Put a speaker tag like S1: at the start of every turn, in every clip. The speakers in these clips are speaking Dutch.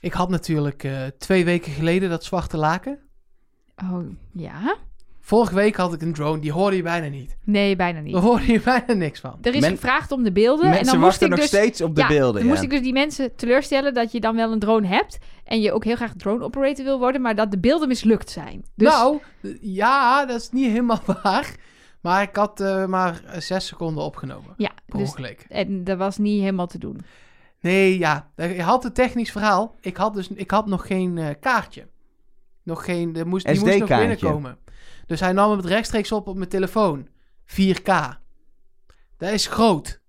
S1: Ik had natuurlijk eh, twee weken geleden dat zwarte laken.
S2: Oh, ja?
S1: Vorige week had ik een drone, die hoorde je bijna niet.
S2: Nee, bijna niet.
S1: Daar hoorde je bijna niks van.
S2: Er is
S3: Men-
S2: gevraagd om de beelden. en
S3: Mensen
S2: dan moest
S3: wachten
S2: ik
S3: nog
S2: dus,
S3: steeds op de
S2: ja,
S3: beelden.
S2: Dan moest
S3: ja.
S2: ik dus die mensen teleurstellen dat je dan wel een drone hebt. En je ook heel graag drone operator wil worden, maar dat de beelden mislukt zijn. Dus
S1: Nou, d- ja, dat is niet helemaal waar. Maar ik had eh, maar eh, zes seconden opgenomen.
S2: ja,
S1: Per
S2: dus,
S1: ongeluk.
S2: en dat was niet helemaal te doen.
S1: Nee, ja. Je had een technisch verhaal. Ik had, dus, ik had nog geen eh, kaartje. Nog geen, er moest, die moest nog
S3: SD-kaartje.
S1: binnenkomen. Dus hij nam het rechtstreeks op op mijn telefoon. 4K. Dat is groot.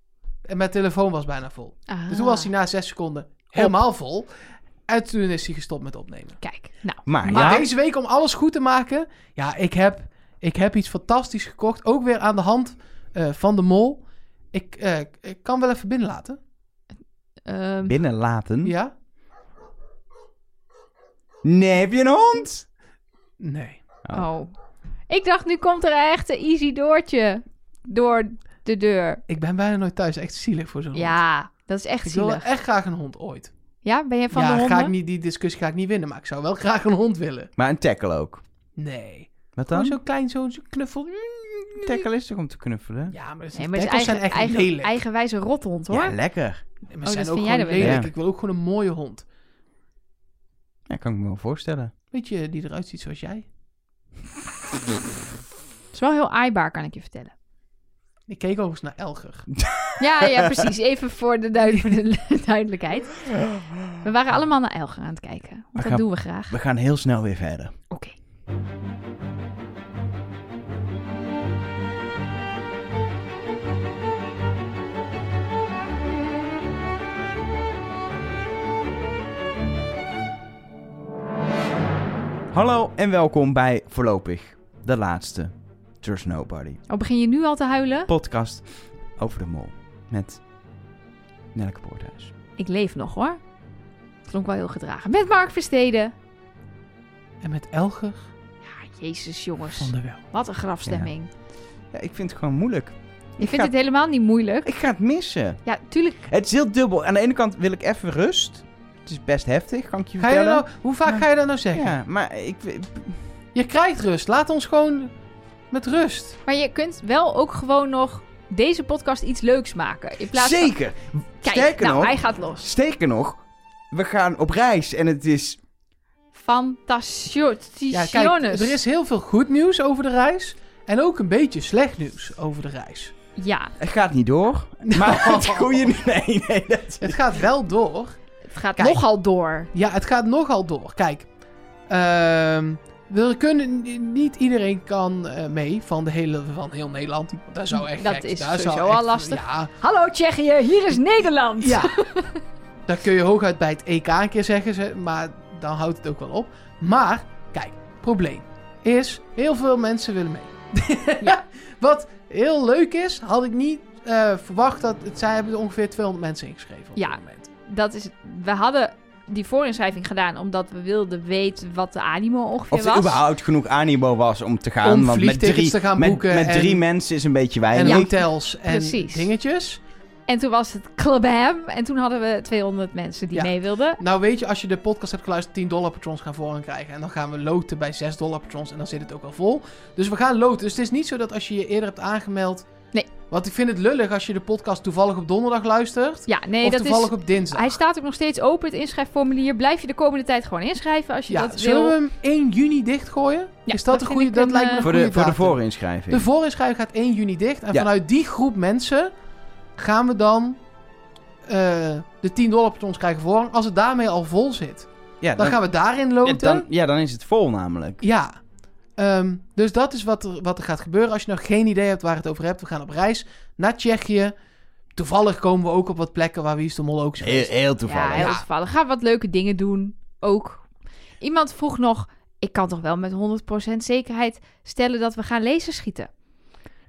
S1: En mijn telefoon was bijna vol.
S2: Ah.
S1: Dus toen was hij na zes seconden helemaal vol. En toen is hij gestopt met opnemen.
S2: Kijk, nou.
S3: Maar,
S1: Maar
S3: ja,
S1: deze week om alles goed te maken. Ja, ik heb, ik heb iets fantastisch gekocht. Ook weer aan de hand eh, van de mol. Ik, eh, ik kan wel even binnenlaten.
S2: ehm,
S3: binnenlaten.
S1: Ja?
S3: Nee, heb je een hond?
S1: Nee.
S2: oh. Ik dacht, nu komt er echt een easy doortje door de deur.
S1: Ik ben bijna nooit thuis. Echt zielig voor zo'n hond.
S2: Ja, dat is echt
S1: Oh. Ik wil
S2: zielig.
S1: echt graag een hond ooit.
S2: Ja, ben je van
S1: ja,
S2: de
S1: ga ik
S2: honden?
S1: niet, die discussie ga ik niet winnen. Maar ik zou wel graag een hond willen.
S3: Maar een tackle ook.
S1: Nee.
S3: Wat
S1: Gewoon
S3: dan?
S1: zo'n klein, zo'n zo'n knuffel. mm.
S3: tackle is toch om te knuffelen?
S1: Ja, maar, dat
S2: Nee,
S1: zijn
S2: maar het is
S1: tackles
S2: eigen,
S1: zijn echt
S2: eigen,
S1: lelijk.
S2: eigenwijze rothond, hoor.
S3: Ja, lekker.
S1: Nee, maar
S2: Oh,
S1: ze zijn
S2: dat
S1: ook
S2: vind jij
S1: gewoon
S2: dan weer.
S1: lelijk. Ik wil ook gewoon een mooie hond.
S3: Ja, kan ik me wel voorstellen.
S1: Weet je, die eruit ziet zoals jij.
S2: Het is wel heel aaibaar, kan ik je vertellen.
S1: Ik keek overigens naar Elger.
S2: Ja, ja, precies. Even voor de, duid- voor de duidelijkheid. We waren allemaal naar Elger aan het kijken. Want dat
S3: gaan-
S2: doen we graag.
S3: We gaan heel snel weer verder.
S2: Oké.
S3: Hallo en welkom bij voorlopig de laatste There's Nobody
S2: Oh, begin je nu al te huilen?
S3: podcast over de mol met Nelke Poorthuis.
S2: Ik leef nog, hoor. Klonk wel heel gedragen. Met Mark Versteden.
S1: En met Elger
S2: Ja, jezus, jongens.
S1: van de wel.
S2: Wat een grafstemming.
S3: Ja, ik vind het gewoon moeilijk.
S2: Ik vind
S3: ga-
S2: het helemaal niet moeilijk.
S3: Ik ga het missen.
S2: Ja, tuurlijk.
S3: Het is heel dubbel. Aan de ene kant wil ik even rust. Het is best heftig, kan ik je
S1: Ga je dat
S3: vertellen.
S1: nou, hoe vaak ga je dat nou zeggen?
S3: Ja, maar ik,
S1: Je krijgt rust. Laat ons gewoon met rust.
S2: Maar je kunt wel ook gewoon nog deze podcast iets leuks maken. In plaats van-
S3: Zeker.
S2: Kijk,
S3: Sterker
S2: nou,
S3: nog-
S2: hij gaat los.
S3: Sterker nog, we gaan op reis en het is...
S2: Fantastisch.
S1: Ja, kijk, er is heel veel goed nieuws over de reis. En ook een beetje slecht nieuws over de reis.
S2: Ja,
S3: Het gaat niet door. Maar het goede... Nee, nee, dat...
S1: Het gaat wel door.
S2: het gaat
S1: Kijk.
S2: nogal door.
S1: Ja, het gaat nogal door. Kijk, ehm, we kunnen, niet iedereen kan eh, mee van, de hele, van heel Nederland. Dat zou echt
S2: Dat
S1: gek-
S2: is
S1: zou
S2: sowieso
S1: echt-
S2: al lastig.
S1: Ja,
S2: Hallo Tsjechië, hier is Nederland.
S1: ja. dat kun je hooguit bij het EK een keer zeggen, ze, maar dan houdt het ook wel op. Maar, kijk, probleem is, heel veel mensen willen mee.
S2: Ja.
S1: Wat heel leuk is, had ik niet eh, verwacht dat, het, zij hebben er ongeveer 200 mensen ingeschreven op
S2: Ja.
S1: dit moment.
S2: Dat is, we hadden die voorinschrijving gedaan omdat we wilden weten wat de animo ongeveer
S3: Of er
S2: was.
S3: überhaupt genoeg animo was om te gaan.
S1: Om
S3: want met
S1: vliegtickets
S3: drie,
S1: te gaan
S3: met,
S1: boeken
S3: Met
S1: en-
S3: drie mensen is een beetje weinig.
S1: En
S2: Ja.
S1: hotels en
S2: Precies.
S1: dingetjes.
S2: En toen was het klabam. En toen hadden we 200 mensen die
S1: Ja.
S2: mee wilden.
S1: Nou weet je, als je de podcast hebt geluisterd, 10 dollar patrons gaan voorrang krijgen. En dan gaan we loten bij 6 dollar patrons en dan zit het ook al vol. Dus we gaan loten. Dus het is niet zo dat als je je eerder hebt aangemeld...
S2: Nee.
S1: Want ik vind het lullig als je de podcast toevallig op donderdag luistert.
S2: Ja, nee,
S1: of
S2: dat
S1: toevallig
S2: is...
S1: op dinsdag.
S2: Hij staat ook nog steeds open, het inschrijfformulier. Blijf je de komende tijd gewoon inschrijven als je
S1: ja,
S2: dat
S1: zullen
S2: wil.
S1: we hem 1 juni dichtgooien?
S2: Ja,
S1: is
S2: dat
S1: dat een
S2: vind
S1: goede...
S2: ik
S1: Dat
S2: een,
S1: lijkt me
S2: eh,
S1: een
S3: voor,
S1: goede
S3: de, voor de
S1: datum.
S3: voorinschrijving.
S1: De voorinschrijving gaat 1 juni dicht. En
S3: Ja.
S1: vanuit die groep mensen gaan we dan eh, de 10 dollar patrons krijgen voorrang. Als het daarmee al vol zit,
S3: ja,
S1: dan, gaan we daarin loten.
S3: ja, dan, ja, dan is het vol namelijk.
S1: Ja. Ehm, dus dat is wat er, wat er gaat gebeuren. Als je nog geen idee hebt waar het over hebt, we gaan op reis naar Tsjechië. Toevallig komen we ook op wat plekken waar Wies de Mol ook is
S3: Heel,
S1: geweest.
S3: heel toevallig.
S2: Ja, heel
S1: Ja.
S2: toevallig. Ga wat leuke dingen doen. Ook. Iemand vroeg nog: ik kan toch wel met 100% zekerheid stellen dat we gaan lezen schieten?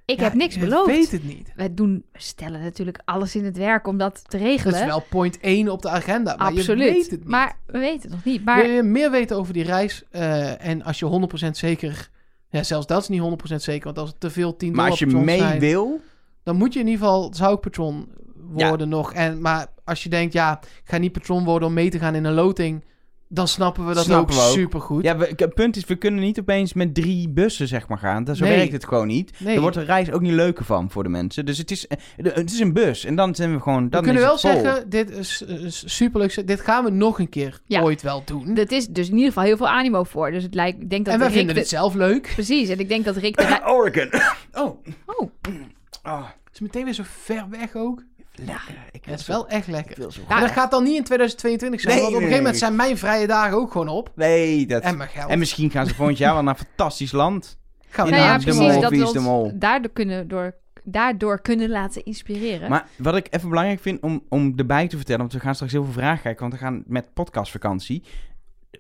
S2: Ik
S1: Ja,
S2: heb niks
S1: je
S2: beloofd.
S1: weet het niet.
S2: We doen, we stellen natuurlijk alles in het werk om dat te regelen.
S1: Dat is wel point 1 op de agenda, maar
S2: Absoluut.
S1: je weet het niet.
S2: Maar we weten het nog niet.
S1: Wil
S2: Maar
S1: je meer weten over die reis eh, en als je 100% zeker... Ja, zelfs dat is niet 100% zeker, want als het te veel 10
S3: Maar als je mee
S1: zijn,
S3: wil...
S1: dan moet je in ieder geval, zou ik patron worden nog. En, maar als je denkt, ja, ik ga niet patron worden om mee te gaan in een loting, dan snappen we dat
S3: Snappen
S1: ook,
S3: we ook.
S1: supergoed.
S3: Ja, we- k- het punt is, we kunnen niet opeens met drie bussen zeg maar gaan. Dat, zo
S1: Nee.
S3: werkt het gewoon niet.
S1: Nee.
S3: Er wordt de reis ook niet leuker van voor de mensen. Dus het is, eh, de- het is een bus. En dan zijn we gewoon... Dan
S1: we kunnen
S3: is
S1: wel
S3: het vol.
S1: zeggen, dit is, is superleuk. Dit gaan we nog een keer
S2: Ja.
S1: ooit wel doen.
S2: Dat is dus in ieder geval heel veel animo voor. Dus het lijkt, ik denk dat
S1: en wij
S2: Rick
S1: vinden
S2: de-
S1: het zelf leuk.
S2: Precies, en ik denk dat Rick de rij-
S3: Oregon. Oh.
S2: Oh,
S3: Ah,
S1: Het is meteen weer zo ver weg ook.
S3: lekker. Ik
S1: Ja, het is
S3: zo-
S1: wel echt
S3: ik
S1: lekker.
S3: wil zo
S1: Maar
S3: graag.
S1: dat gaat dan niet in 2022 zijn.
S3: Nee,
S1: want op een
S3: nee,
S1: gegeven moment
S3: nee.
S1: zijn mijn vrije dagen ook gewoon op.
S3: Nee, dat...
S1: En
S3: En,
S1: mijn geld.
S3: misschien gaan ze volgend jaar wel naar een fantastisch land.
S1: Gaan we dus
S3: in
S2: nou ja,
S1: naar de
S3: de
S2: precies.
S1: mall.
S2: Dat
S3: Wie is
S2: we
S3: de
S2: ons
S3: mol?
S2: daardoor kunnen, door, daardoor kunnen laten inspireren.
S3: Maar wat ik even belangrijk vind om, om erbij te vertellen... want we gaan straks heel veel vragen kijken... want we gaan met podcastvakantie...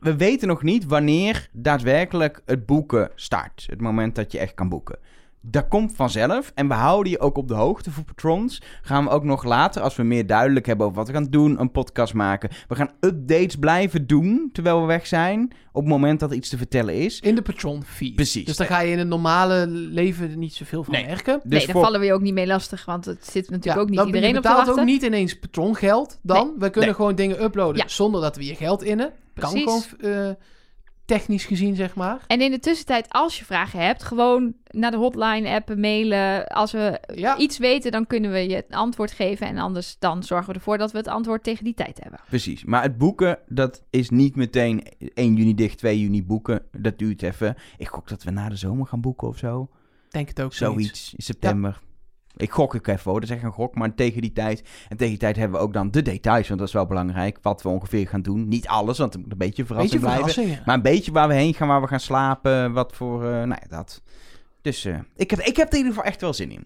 S3: We weten nog niet wanneer daadwerkelijk het boeken start. Het moment dat je echt kan boeken. Dat komt vanzelf. En we houden je ook op de hoogte voor patrons. Gaan we ook nog later, als we meer duidelijk hebben over wat we gaan doen, een podcast maken. We gaan updates blijven doen terwijl we weg zijn. Op het moment dat er iets te vertellen is.
S1: In de patron feed.
S3: Precies.
S1: Dus daar ga je in het normale leven niet zoveel van
S3: Nee.
S1: merken.
S3: Dus
S2: nee, daar
S3: voor-
S2: vallen we je ook niet mee lastig, want het zit natuurlijk ook niet
S1: dan-
S2: iedereen
S1: je
S2: op te
S1: betaalt
S2: wachten.
S1: ook niet ineens patrongeld dan.
S2: Nee.
S1: We kunnen
S3: Nee.
S1: gewoon dingen uploaden
S2: Ja.
S1: zonder dat we je geld innen. Kan
S2: Precies.
S1: gewoon eh, technisch gezien, zeg maar.
S2: En in de tussentijd, als je vragen hebt, gewoon naar de hotline appen, mailen. Als we
S1: Ja.
S2: iets weten, dan kunnen we je het antwoord geven. En anders dan zorgen we ervoor dat we het antwoord tegen die tijd hebben.
S3: Precies. Maar het boeken, dat is niet meteen 1 juni dicht, 2 juni boeken. Dat duurt even. Ik gok dat we na de zomer gaan boeken of zo.
S1: Denk het ook zoiets.
S3: Zoiets in september. Ik gok ik even hoor, dat is echt een gok. Maar tegen die tijd, en tegen die tijd hebben we ook dan de details, want dat is wel belangrijk. Wat we ongeveer gaan doen. Niet alles, want het moet een beetje verrassend
S1: Beetje
S3: blijven.
S1: verrassingen.
S3: Maar een beetje waar we heen gaan, waar we gaan slapen, wat voor, eh nou ja, dat. Dus eh, ik, heb, ik heb er in ieder geval echt wel zin in.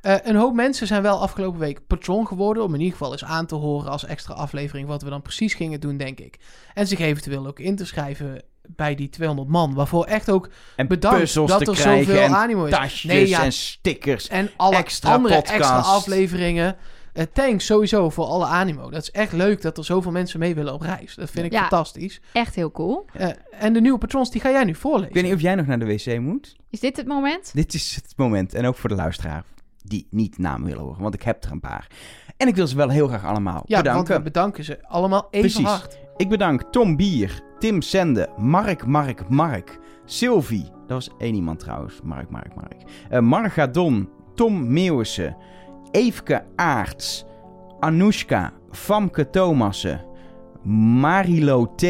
S1: Eh, een hoop mensen zijn wel afgelopen week patron geworden. Om in ieder geval eens aan te horen als extra aflevering wat we dan precies gingen doen, denk ik. En zich eventueel ook in te schrijven bij die 200 man. Waarvoor echt ook
S3: En
S1: bedankt
S3: puzzels
S1: dat
S3: te
S1: er
S3: krijgen
S1: zoveel
S3: en
S1: animo is.
S3: tasjes
S1: Nee, ja.
S3: en stickers.
S1: En alle
S3: Extra
S1: andere extra
S3: podcast.
S1: afleveringen. Eh, thanks sowieso voor alle animo. Dat is echt leuk dat er zoveel mensen mee willen op reis. Dat vind ik
S2: Ja.
S1: fantastisch.
S2: Echt heel cool.
S1: Eh, en de nieuwe patrons, die ga jij nu
S3: Ik
S1: voorlezen.
S3: weet niet of jij nog naar de wc moet.
S2: Is dit het moment?
S3: Dit is het moment. En ook voor de luisteraar die niet naam willen horen, want ik heb er een paar. En ik wil ze wel heel graag allemaal
S1: ja, want
S3: bedanken.
S1: we bedanken ze allemaal even
S3: Precies.
S1: hard.
S3: Ik bedank Tom Bier, Tim Sende, Mark, Mark, Mark, Sylvie. Dat was één iemand trouwens. Mark, Mark, Mark. Eh Marga Don, Tom Meeuwissen, Eefke Aarts, Anoushka, Famke Thomassen, Marilo T,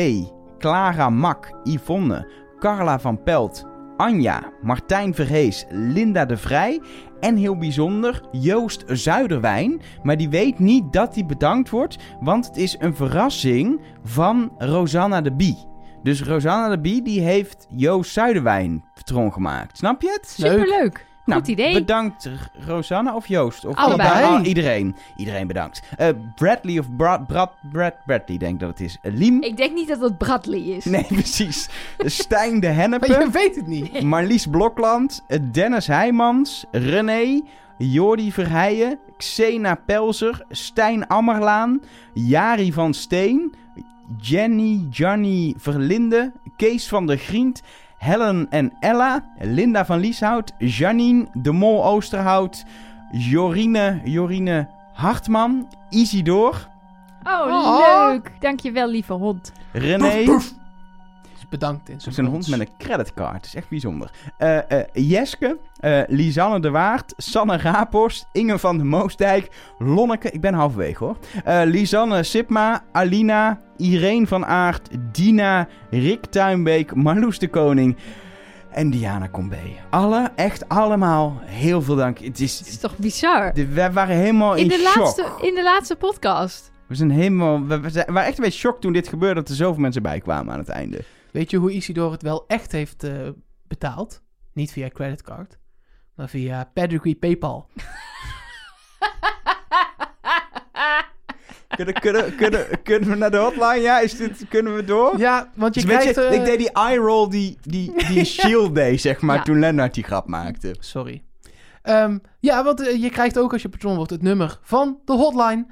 S3: Clara Mak, Yvonne, Carla van Pelt, Anja, Martijn Verhees, Linda de Vrij en heel bijzonder Joost Zuiderwijn. Maar die weet niet dat hij bedankt wordt, want het is een verrassing van Rosanna de Bie. Dus Rosanna de Bie die heeft Joost Zuiderwijn patroon gemaakt. Snap je het?
S1: Leuk.
S2: Superleuk.
S3: Nou,
S2: Goed idee.
S3: Bedankt R- Rosanna of Joost? Of
S2: Allebei.
S3: Ah, iedereen. Iedereen bedankt. Eh, Bradley of Brad, Brad, Brad, Bradley denk ik dat het is. Eh, Liem.
S2: Ik denk niet dat dat Bradley is.
S3: Nee, precies. Stijn de
S1: Maar
S3: Hennepe.
S1: je weet het niet.
S3: Marlies Blokland, eh, Dennis Heijmans, René, Jordi Verheijen, Xena Pelzer, Stijn Ammerlaan, Jari van Steen, Jenny Johnny Verlinde, Kees van der Griend, Helen en Ella, Linda van Lieshout, Janine de Mol Oosterhout, Jorine, Jorine Hartman, Isidor,
S2: Oh,
S1: Oh.
S2: leuk. Dankjewel, lieve hond.
S3: René...
S1: Dus bedankt in zijn
S3: Het is een hond met een creditcard. Het is echt bijzonder. Eh, eh, Jeske, eh, Lisanne de Waard, Sanne Raphorst, Inge van de Moosdijk, Lonneke, ik ben halverwege hoor. Eh, Lisanne Sipma, Alina, Irene van Aert, Dina, Rick Tuinbeek, Marloes de Koning en Diana Combe. Alle, echt allemaal, heel veel dank. Het
S2: Het
S3: is,
S2: is toch bizar?
S3: de- wij waren helemaal in,
S2: In de,
S3: shock.
S2: laatste, in de laatste podcast.
S3: We, zijn helemaal, we, we zijn- we waren echt een beetje shock toen dit gebeurde dat er zoveel mensen bij kwamen aan het einde.
S1: Weet je hoe Isidor het wel echt heeft eh, betaald? Niet via creditcard, maar via pedigree PayPal.
S3: Kunnen, kunnen, kunnen, kunnen we naar de hotline? Ja, is dit, kunnen we door?
S1: Ja, want je
S3: Dus weet
S1: krijgt...
S3: je,
S1: eh,
S3: ik deed die eye roll die, die, die Shield deed, zeg maar,
S2: Ja.
S3: toen Lennart die grap maakte.
S1: Sorry. Ehm, ja, want eh, je krijgt ook als je patron wordt het nummer van de hotline.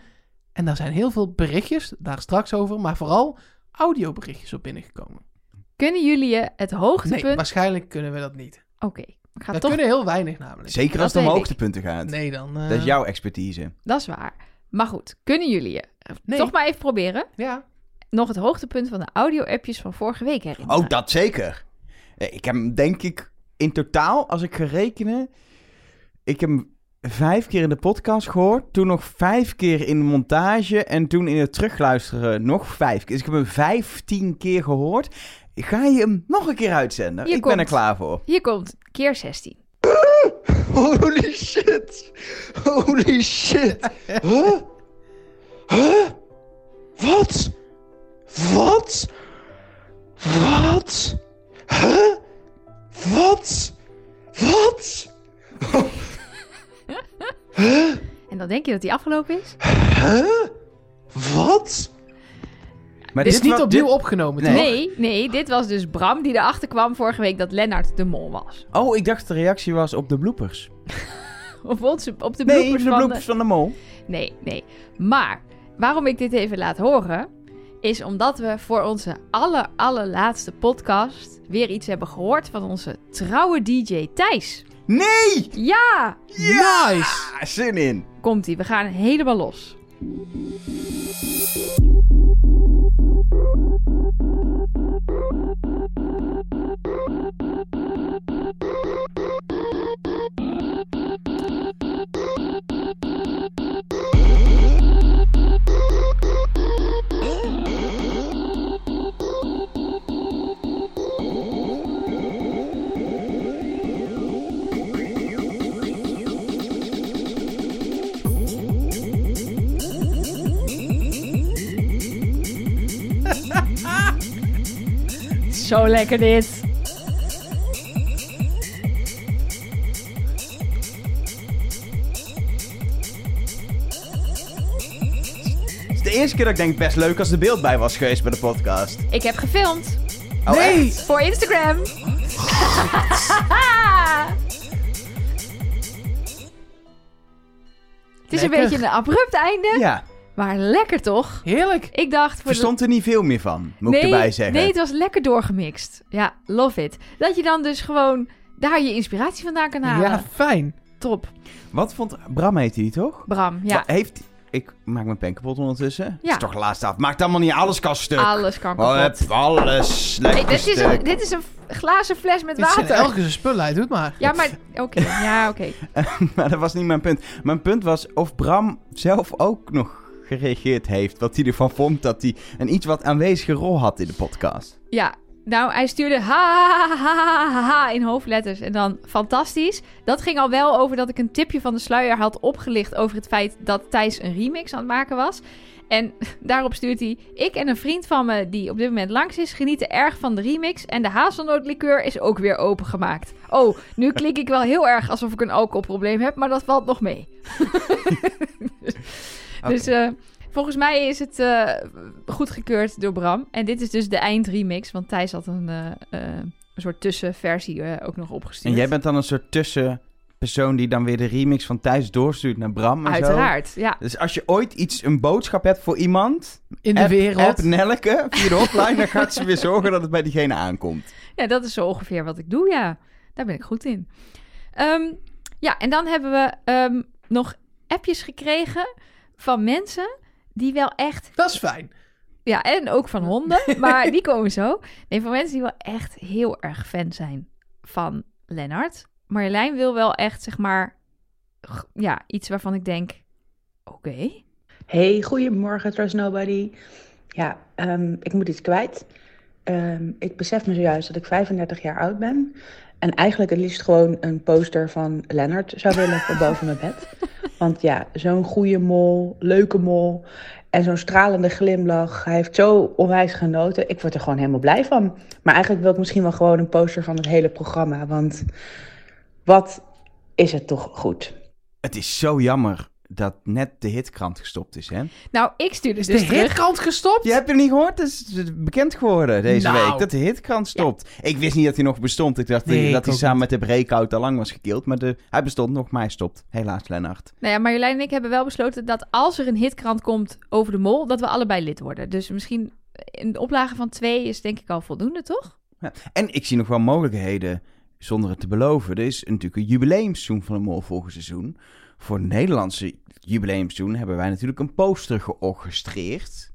S1: En daar zijn heel veel berichtjes, daar straks over, maar vooral audioberichtjes op binnengekomen.
S2: Kunnen jullie je het hoogtepunt...
S1: Nee, waarschijnlijk kunnen we dat niet.
S2: Oké, ik ga
S1: Dat
S2: toch...
S1: kunnen heel weinig namelijk.
S3: Zeker als
S2: Dat
S3: het om
S2: weet
S3: hoogtepunten gaat.
S1: Nee, dan... eh,
S3: Dat is jouw expertise.
S2: Dat is waar. Maar goed, kunnen jullie je
S1: Nee.
S2: toch maar even proberen?
S1: Ja.
S2: Nog het hoogtepunt van de audio-appjes van vorige week herinneren.
S3: Oh, dat zeker. Eh, Ik heb hem denk ik in totaal, als ik ga rekenen... Ik heb hem vijf keer in de podcast gehoord. Toen nog vijf keer in de montage. En toen in het terugluisteren nog vijf keer. Dus ik heb hem vijftien keer gehoord. Ga je hem nog een keer uitzenden?
S2: Hier
S3: ik ben
S2: komt.
S3: er klaar voor.
S2: Hier komt keer 16.
S4: Holy shit! Holy shit! Huh? Huh? Wat? Wat? Wat? Huh? Wat? Wat?
S2: En dan denk je dat die afgelopen is?
S4: Wat?
S3: Maar
S1: Dit is niet
S3: wa-
S1: opnieuw
S3: dit-
S1: opgenomen,
S3: Nee.
S1: toch?
S2: Nee, nee, dit was dus Bram die erachter kwam vorige week dat Lennart de mol was.
S3: Oh, ik dacht de reactie was op de bloopers.
S2: Op, onze, op de
S3: Nee,
S2: bloepers
S3: de
S2: van de-
S3: bloopers van de mol.
S2: Nee, nee. Maar waarom ik dit even laat horen, is omdat we voor onze aller, allerlaatste podcast weer iets hebben gehoord van onze trouwe DJ Thijs.
S3: Nee!
S2: Ja,
S1: Nice!
S3: Ah, zin in.
S2: komt ie. We gaan helemaal los. Zo lekker dit.
S3: Het is de eerste keer dat ik denk best leuk als er beeld bij was geweest bij de podcast.
S2: Ik heb gefilmd
S3: Oh,
S1: Nee!
S3: echt?
S2: voor Instagram. Het is een
S1: Lekker.
S2: beetje een abrupt einde,
S3: Ja,
S2: maar lekker toch?
S1: Heerlijk!
S2: Ik dacht voor de
S3: verstond er niet veel meer van, moet ik erbij zeggen.
S2: Nee, het was lekker doorgemixt. Ja, love it. Dat je dan dus gewoon daar je inspiratie vandaan kan
S3: Nou.
S2: halen.
S1: Ja, fijn.
S2: Top,
S3: Wat vond... Bram heette die, toch?
S2: Bram. Ja,
S3: Wat Heeft... Ik maak mijn pen kapot ondertussen.
S2: Ja.
S3: Is toch de laatste af. Maakt allemaal niet alles kan stuk.
S2: alles kan kapot.
S3: Oh, heb alles
S2: Hey,
S3: lekker
S2: dit, is
S3: stuk.
S2: een, dit is een f- glazen fles met
S1: Dit zijn
S2: water.
S1: elke zijn spullen uit, doe het maar.
S2: Ja, maar oké. Ja, oké.
S3: maar dat was niet mijn punt. Mijn punt was of Bram zelf ook nog gereageerd heeft. Wat hij ervan vond dat hij een iets wat aanwezige rol had in de podcast.
S2: Ja, nou, hij stuurde ha, ha, ha, ha, ha, ha in hoofdletters en dan fantastisch. Dat ging al wel over dat ik een tipje van de sluier had opgelicht over het feit dat Thijs een remix aan het maken was. En daarop stuurt hij: Ik en een vriend van me die op dit moment langs is, genieten erg van de remix. En de hazelnootlikeur is ook weer opengemaakt. Oh, nu klink ik wel heel erg alsof ik een alcoholprobleem heb, maar dat valt nog mee. Dus eh, volgens mij is het eh, goedgekeurd door Bram. En dit is dus de eindremix, want Thijs had een, eh, eh, een soort tussenversie eh, ook nog opgestuurd.
S3: En jij bent dan een soort tussenpersoon die dan weer de remix van Thijs doorstuurt naar Bram en zo.
S2: Uiteraard, ja.
S3: Dus als je ooit iets, een boodschap hebt voor iemand...
S1: In de
S3: app-
S1: wereld.
S3: App Nelke via de hotline, dan gaat ze weer zorgen dat het bij diegene aankomt.
S2: Ja, dat is zo ongeveer wat ik doe, ja. Daar ben ik goed in. Ehm, ja, en dan hebben we ehm, nog appjes gekregen van mensen die wel echt...
S1: Dat is fijn.
S2: Ja, en ook van honden, maar die komen zo. Nee, van mensen die wel echt heel erg fan zijn van Lennart. Marjolein wil wel echt, zeg maar, g- ja, iets waarvan ik denk, oké.
S5: Hey, goedemorgen, Trust Nobody. Ja, ehm, ik moet iets kwijt. Ehm, ik besef me zojuist dat ik 35 jaar oud ben. En eigenlijk het liefst gewoon een poster van Lennart zou willen voor boven mijn bed. Want ja, zo'n goede mol, leuke mol. En zo'n stralende glimlach. Hij heeft zo onwijs genoten. Ik word er gewoon helemaal blij van. Maar eigenlijk wil ik misschien wel gewoon een poster van het hele programma. Want wat is het toch goed?
S3: Het is zo jammer dat net de hitkrant gestopt is, hè?
S2: Nou, ik stuur dus,
S1: Is de
S2: dus terug.
S1: herkant gestopt?
S3: Je hebt hem niet gehoord? Het is bekend geworden deze
S1: Nou.
S3: week dat de hitkrant stopt. Ik wist niet dat hij nog bestond. Ik dacht eh,
S1: Nee, ik
S3: dat hij
S1: ook
S3: samen met de breakout al lang was gekild. Maar de, hij bestond nog, maar hij stopt. Helaas, Lennart.
S2: Nou ja, Marjolein en ik hebben wel besloten dat als er een hitkrant komt over de mol, dat we allebei lid worden. Dus misschien een oplage van twee is denk ik al voldoende, toch?
S3: Ja. En ik zie nog wel mogelijkheden, zonder het te beloven. Er is natuurlijk een jubileumseizoen van de Mol volgend seizoen. voor het Nederlandse jubileumseizoen hebben wij natuurlijk een poster georchestreerd.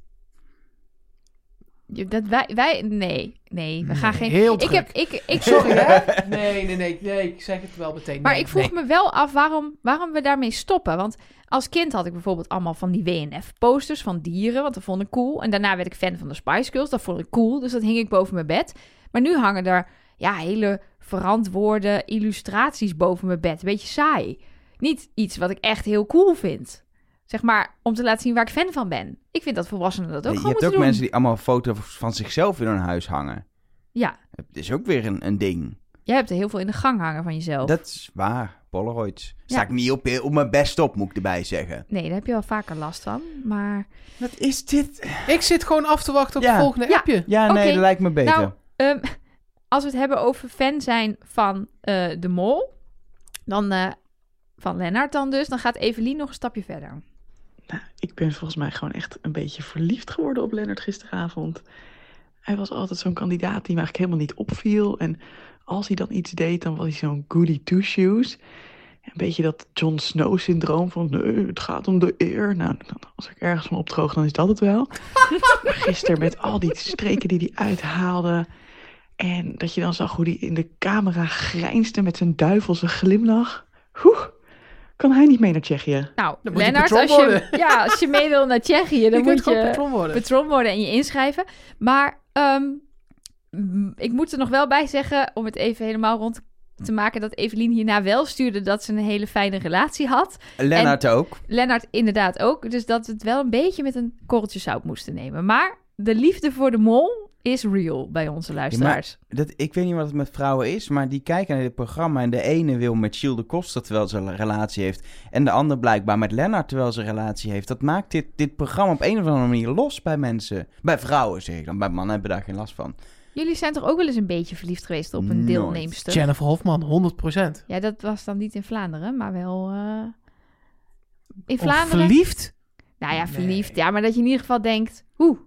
S2: Je- Dat wij, wij, nee, nee, we gaan geen...
S1: Heel
S2: ik
S1: druk.
S2: heb, ik, ik,
S1: Sorry hè? Nee, nee, nee, nee. Ik zeg het wel meteen.
S2: Maar
S1: Nee,
S2: ik vroeg
S1: nee.
S2: me wel af waarom, waarom we daarmee stoppen. Want als kind had ik bijvoorbeeld allemaal van die WNF-posters van dieren, want dat vond ik cool. En daarna werd ik fan van de Spice Girls, dat vond ik cool. Dus dat hing ik boven mijn bed. Maar nu hangen er ja, hele verantwoorde illustraties boven mijn bed. Beetje saai. Niet iets wat ik echt heel cool vind. Zeg maar, om te laten zien waar ik fan van ben. Ik vind dat volwassenen dat ook
S3: je
S2: gewoon
S3: hebt
S2: moeten
S3: ook
S2: doen.
S3: mensen die allemaal foto's van zichzelf in hun huis hangen.
S2: Ja,
S3: Dat is ook weer een, een ding.
S2: jij hebt er heel veel in de gang hangen van jezelf.
S3: Dat is waar, Polaroids. Sta
S2: Ja.
S3: ik niet op, op mijn best op, moet ik erbij zeggen.
S2: Nee, daar heb je wel vaker last van. Maar
S3: Wat is dit?
S1: Ik zit gewoon af te wachten op
S3: Ja.
S1: het volgende
S2: Ja.
S1: appje.
S3: Ja, nee,
S2: Oké,
S3: dat lijkt me beter.
S2: nou, Ehm, als we het hebben over fan zijn van eh, de mol, dan eh, van Lennart dan dus, dan gaat Evelien nog een stapje verder.
S6: Nou, ik ben volgens mij gewoon echt een beetje verliefd geworden op Lennart gisteravond. Hij was altijd zo'n kandidaat die me eigenlijk helemaal niet opviel. En als hij dan iets deed, dan was hij zo'n goody two-shoes. Een beetje dat Jon Snow-syndroom van nee, het gaat om de eer. Nou, dan- als ik ergens van opdroog, dan is dat het wel. maar gisteren met al die streken die hij uithaalde. En dat je dan zag hoe hij in de camera grijnsde met zijn duivelse glimlach. Hoe kan hij niet mee naar Tsjechië?
S2: Nou,
S1: Dan moet je
S2: Lennart,
S1: patron
S2: als je,
S1: worden.
S2: ja, als je mee wil naar Tsjechië, dan
S1: je kunt
S2: moet
S1: gewoon
S2: je
S1: patron worden.
S2: patron worden en je inschrijven. Maar ehm, m, ik moet er nog wel bij zeggen, om het even helemaal rond te maken, dat Evelien hierna wel stuurde dat ze een hele fijne relatie had.
S3: Lennart ook.
S2: Lennart inderdaad ook. Dus dat we het wel een beetje met een korreltje zout moesten nemen. Maar de liefde voor de mol is real bij onze luisteraars.
S3: Dat, ik weet niet wat het met vrouwen is, maar die kijken naar dit programma en de ene wil met Gilles de Koster terwijl ze een relatie heeft en de ander blijkbaar met Lennart terwijl ze een relatie heeft. Dat maakt dit, dit programma op een of andere manier los bij mensen. Bij vrouwen zeg ik dan, bij mannen hebben we daar geen last van.
S2: Jullie zijn toch ook wel eens een beetje verliefd geweest op een
S3: Nooit.
S2: deelneemster?
S1: Jennifer Hofman, 100%.
S2: Ja, dat was dan niet in Vlaanderen, maar wel eh, in
S1: Of
S2: Vlaanderen.
S1: verliefd?
S2: Nou ja,
S1: Nee.
S2: verliefd. Ja, maar dat je in ieder geval denkt, oeh,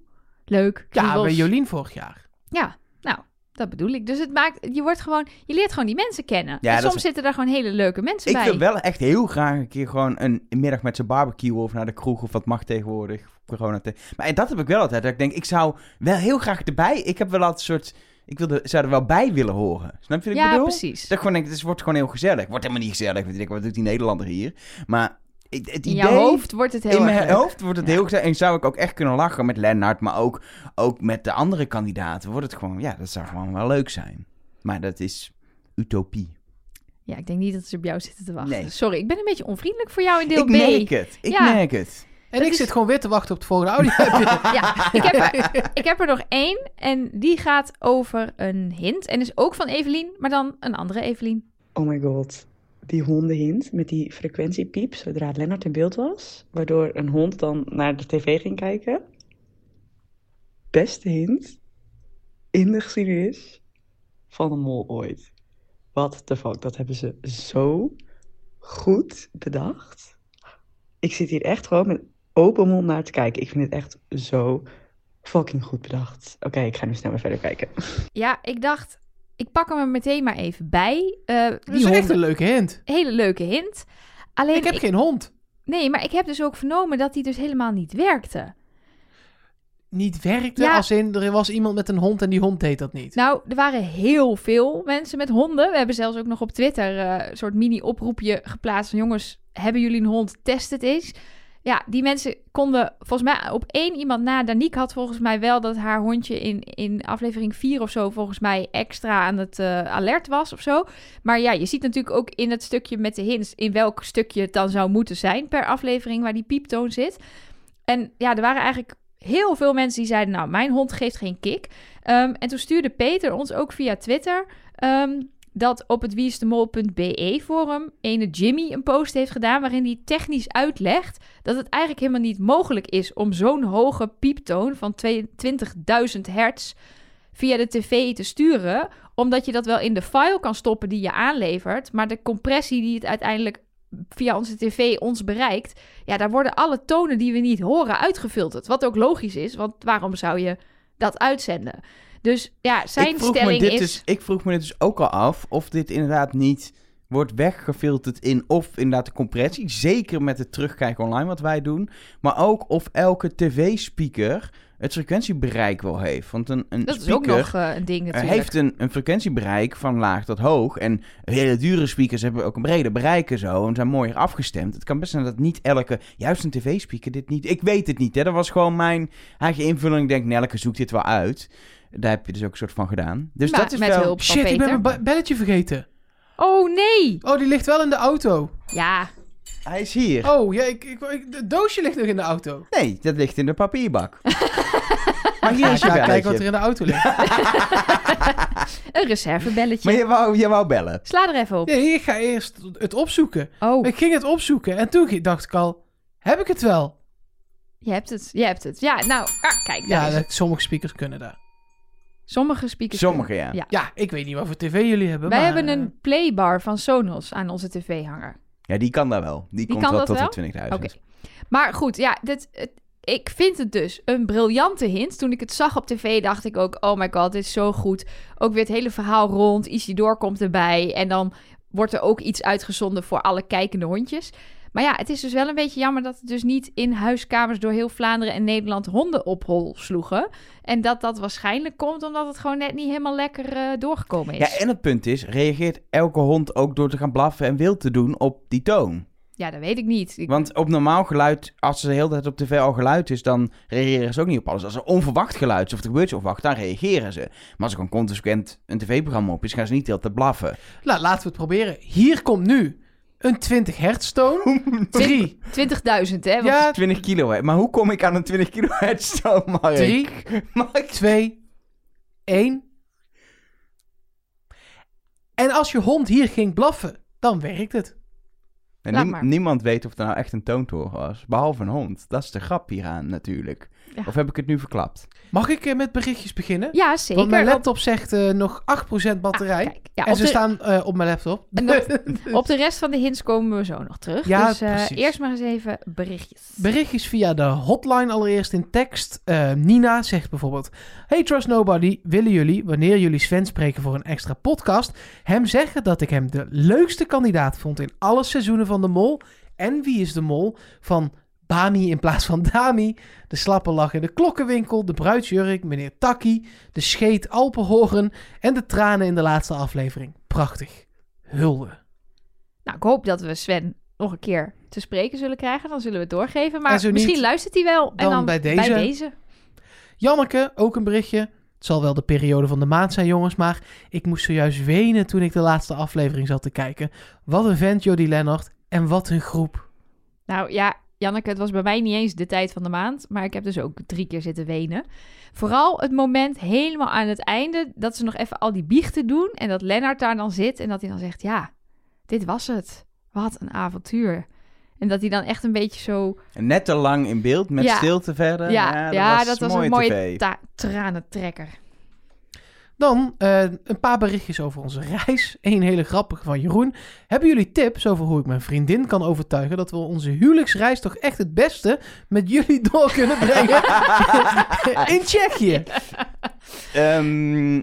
S2: leuk.
S1: Ja,
S2: kriebels.
S1: bij Jolien vorig jaar.
S2: Ja, nou, dat bedoel ik. Dus het maakt, je wordt gewoon, je leert gewoon die mensen kennen.
S3: Ja,
S2: en
S3: dat
S2: soms
S3: is-
S2: zitten daar gewoon hele leuke mensen
S3: Ik
S2: bij.
S3: wil wel echt heel graag een keer gewoon een middag met z'n barbecue of naar de kroeg of wat mag tegenwoordig. Corona te- Maar dat heb ik wel altijd. Dat ik denk, ik zou wel heel graag erbij. Ik heb wel altijd een soort. Ik wil er, zou er wel bij willen horen. Snap je wat ik
S2: ja,
S3: bedoel?
S2: precies.
S3: Dat ik gewoon denk, het is- wordt gewoon heel gezellig. Wordt helemaal niet gezellig. Weet ik, wat doet die Nederlander hier? Maar ik- het
S2: In
S3: idee...
S2: jouw hoofd wordt het heel
S3: in
S2: erg
S3: mijn
S2: leuk.
S3: hoofd wordt het heel gezellig. En zou ik ook echt kunnen lachen met Lennart, maar ook, ook met de andere kandidaten. Wordt het gewoon, ja, dat zou gewoon wel leuk zijn. Maar dat is utopie.
S2: Ja, ik denk niet dat ze op jou zitten te wachten.
S3: Nee.
S2: Sorry, ik ben een beetje onvriendelijk voor jou in deel
S3: ik
S2: B.
S3: merk het. Ik
S2: Ja.
S3: merk het.
S1: En
S2: Dat
S1: ik
S2: is-
S1: zit gewoon weer te wachten op het volgende audio.
S2: Ja, ik heb, er, ik heb er nog één. En die gaat over een hint. En is ook van Evelien, maar dan een andere Evelien.
S6: Oh my god. Die hondenhint met die frequentiepiep zodra Lennart in beeld was. Waardoor een hond dan naar de tv ging kijken. Beste hint in de geschiedenis van een mol ooit. Wat de fuck, dat hebben ze zo goed bedacht. Ik zit hier echt gewoon met open mond naar te kijken. Ik vind het echt zo fucking goed bedacht. Oké, ik ga nu snel weer verder kijken.
S2: Ja, ik dacht, ik pak hem er meteen maar even bij. Eh,
S1: Dat
S2: die
S1: is echt
S2: hond,
S1: een leuke hint.
S2: hele leuke hint. Alleen,
S1: Ik heb
S2: ik-
S1: geen hond.
S2: nee, maar ik heb dus ook vernomen dat die dus helemaal niet werkte.
S1: Niet werkte,
S2: Ja.
S1: als in er was iemand met een hond en die hond deed dat niet.
S2: Nou, er waren heel veel mensen met honden. We hebben zelfs ook nog op Twitter eh, een soort mini-oproepje geplaatst van jongens, hebben jullie een hond? Test het eens. Ja, die mensen konden volgens mij op één iemand na. Danique had volgens mij wel dat haar hondje in, in aflevering 4 of zo volgens mij extra aan het eh, alert was of zo. Maar ja, je ziet natuurlijk ook in het stukje met de hints in welk stukje het dan zou moeten zijn per aflevering waar die pieptoon zit. En ja, er waren eigenlijk heel veel mensen die zeiden, nou, mijn hond geeft geen kick. Ehm, en toen stuurde Peter ons ook via Twitter ehm, dat op het wieisdemol.be forum ene Jimmy een post heeft gedaan waarin hij technisch uitlegt dat het eigenlijk helemaal niet mogelijk is om zo'n hoge pieptoon van 22.000 hertz via de tv te sturen, omdat je dat wel in de file kan stoppen die je aanlevert, maar de compressie die het uiteindelijk via onze tv ons bereikt, ja, daar worden alle tonen die we niet horen uitgefilterd, wat ook logisch is, want waarom zou je dat uitzenden? Dus ja, zijn
S3: ik vroeg
S2: stelling
S3: me dit
S2: is
S3: Dus, ik vroeg me dit dus ook al af of dit inderdaad niet wordt weggefilterd in of inderdaad de compressie. Zeker met het terugkijken online wat wij doen. Maar ook of elke tv-speaker het frequentiebereik wel heeft. Want een, een
S2: Dat is ook
S3: speaker
S2: nog eh, een ding
S3: eh,
S2: natuurlijk.
S3: heeft een, een frequentiebereik van laag tot hoog. En hele dure speakers hebben ook een breder bereik en zo. En zijn mooier afgestemd. Het kan best zijn dat niet elke, juist een tv-speaker dit niet... Ik weet het niet, hè. Dat was gewoon mijn eigen invulling. Ik denk, Nelke zoekt dit wel uit. Daar heb je dus ook een soort van gedaan. Dus
S2: Maar
S3: dat is
S2: met
S3: wel...
S2: hulp van
S1: Shit, ik ben
S2: Peter.
S1: mijn ba- belletje vergeten.
S2: Oh nee!
S1: Oh, die ligt wel in de auto.
S2: Ja,
S3: Hij is hier.
S1: Oh, ja, ik, ik, ik- het doosje ligt nog in de auto.
S2: Oh.
S3: Nee, dat ligt in de papierbak. maar hier is je
S1: Ik ga kijken
S3: belletje.
S1: wat er in de auto ligt.
S2: een reservebelletje.
S3: Maar je wou, je wou bellen.
S2: Sla er even op.
S1: Nee, ik ga eerst het opzoeken.
S2: Oh,
S1: Ik ging het opzoeken en toen ge- dacht ik al, heb ik het wel?
S2: je hebt het. Je hebt het. Ja, nou, ah, kijk. daar
S1: Ja,
S2: is het.
S1: dat- sommige speakers kunnen daar.
S2: Sommige speakers.
S3: Sommige, ja.
S2: Ja.
S1: Ja, ik weet niet wat voor tv jullie hebben.
S2: Wij
S1: maar,
S2: hebben
S1: eh,
S2: een playbar van Sonos aan onze tv-hanger.
S3: Ja, die kan daar wel. Die, komt
S2: kan
S3: wel
S2: dat
S3: tot
S2: wel?
S3: de 20.000.
S2: Oké. Maar goed, ja, dit, het- ik vind het dus een briljante hint. Toen ik het zag op tv, dacht ik ook: oh my god, dit is zo goed. Ook weer het hele verhaal rond. Isidore komt erbij. En dan wordt er ook iets uitgezonden voor alle kijkende hondjes. Maar ja, het is dus wel een beetje jammer dat het dus niet in huiskamers door heel Vlaanderen en Nederland honden op hol sloegen. En dat dat waarschijnlijk komt omdat het gewoon net niet helemaal lekker eh, doorgekomen is.
S3: Ja, en het punt is, reageert elke hond ook door te gaan blaffen en wild te doen op die toon?
S2: Ja, dat weet ik niet. Ik-
S3: Want op normaal geluid, als er de hele tijd op tv al geluid is, dan reageren ze ook niet op alles. Als er onverwacht geluid is of er gebeurt iets onverwacht, dan reageren ze. Maar als er gewoon consequent een tv-programma op is, gaan ze niet de hele tijd blaffen.
S1: Nou, laten we het proberen. Hier komt nu een 20 hertz toon. 3,
S2: 20.000, hè? Want
S1: ja,
S3: 20 kilo, hè. Maar hoe kom ik aan een 20 kilohertz toon, Mark?
S1: 3,
S3: Mark?
S1: 2, 1. En als je hond hier ging blaffen, dan werkt het.
S3: En
S2: Laat
S3: niem-
S2: maar.
S3: niemand weet of er nou echt een toontoren was. Behalve een hond. Dat is de grap hieraan natuurlijk.
S2: Ja.
S3: Of heb ik het nu verklapt?
S1: Mag ik eh, met berichtjes beginnen?
S2: ja zeker.
S1: Want mijn
S2: Op-
S1: laptop zegt eh, nog 8% batterij.
S2: Ah, kijk. Ja,
S1: en
S2: op
S1: ze
S2: de-
S1: staan eh, op mijn laptop.
S2: En dat- Op de rest van de hints komen we zo nog terug.
S1: Ja,
S2: dus eh,
S1: precies.
S2: eerst maar eens even berichtjes.
S1: Berichtjes via de hotline allereerst in tekst. Eh, Nina zegt bijvoorbeeld... Hey Trust Nobody, willen jullie, wanneer jullie Sven spreken voor een extra podcast... hem zeggen dat ik hem de leukste kandidaat vond in alle seizoenen van De Mol... en Wie is de Mol van Bami in plaats van Dami... de slappe lach in de klokkenwinkel, de bruidsjurk, meneer Takkie... de scheet Alpenhoren en de tranen in de laatste aflevering. Prachtig. Hulde.
S2: Nou, ik hoop dat we Sven nog een keer te spreken zullen krijgen. Dan zullen we het doorgeven. Maar
S1: En zo niet,
S2: misschien luistert hij wel. en
S1: dan
S2: dan
S1: bij deze. Janneke, ook een berichtje. Het zal wel de periode van de maand zijn, jongens, maar ik moest zojuist wenen toen ik de laatste aflevering zat te kijken. Wat een vent, Jody Lennart, en wat een groep.
S2: Nou ja, Janneke, het was bij mij niet eens de tijd van de maand. Maar ik heb dus ook drie keer zitten wenen. Vooral het moment helemaal aan het einde dat ze nog even al die biechten doen. En dat Lennart daar dan zit en dat hij dan zegt: Ja, dit was het. Wat een avontuur. En dat hij dan echt een beetje zo.
S3: En Net te lang in beeld, met
S2: Ja.
S3: stilte verder.
S2: Ja, ja, dat, was een mooie
S3: tv.
S2: ta- tranentrekker.
S1: Dan eh, een paar berichtjes over onze reis. Eén hele grappige van Jeroen. Hebben jullie tips over hoe ik mijn vriendin kan overtuigen dat we onze huwelijksreis toch echt het beste met jullie door kunnen brengen in Tsjechië?
S3: Ehm,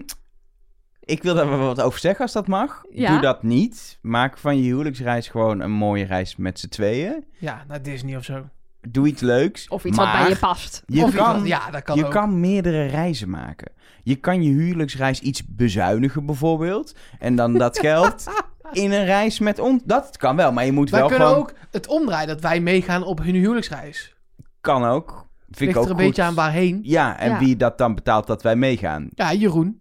S3: ik wil daar wel wat over zeggen als dat mag.
S2: Ja.
S3: Doe dat niet. Maak van je huwelijksreis gewoon een mooie reis met z'n tweeën.
S1: Ja, naar Disney of zo.
S3: Doe iets leuks.
S2: Of iets wat
S3: maar
S2: bij je past.
S3: Je
S1: of
S3: kan,
S1: iemand- ja, dat kan
S3: je
S1: ook.
S3: kan meerdere reizen maken. Je kan je huwelijksreis iets bezuinigen bijvoorbeeld. En dan dat geld in een reis met ons. Dat kan wel, maar je moet
S1: Wij
S3: wel
S1: kunnen
S3: gewoon...
S1: ook het omdraaien dat wij meegaan op hun huwelijksreis.
S3: Kan ook. Vind
S1: Ligt
S3: ik ook
S1: er een
S3: goed.
S1: beetje aan waarheen.
S3: Ja, en
S2: Ja.
S3: wie dat dan betaalt dat wij meegaan.
S1: Ja, Jeroen.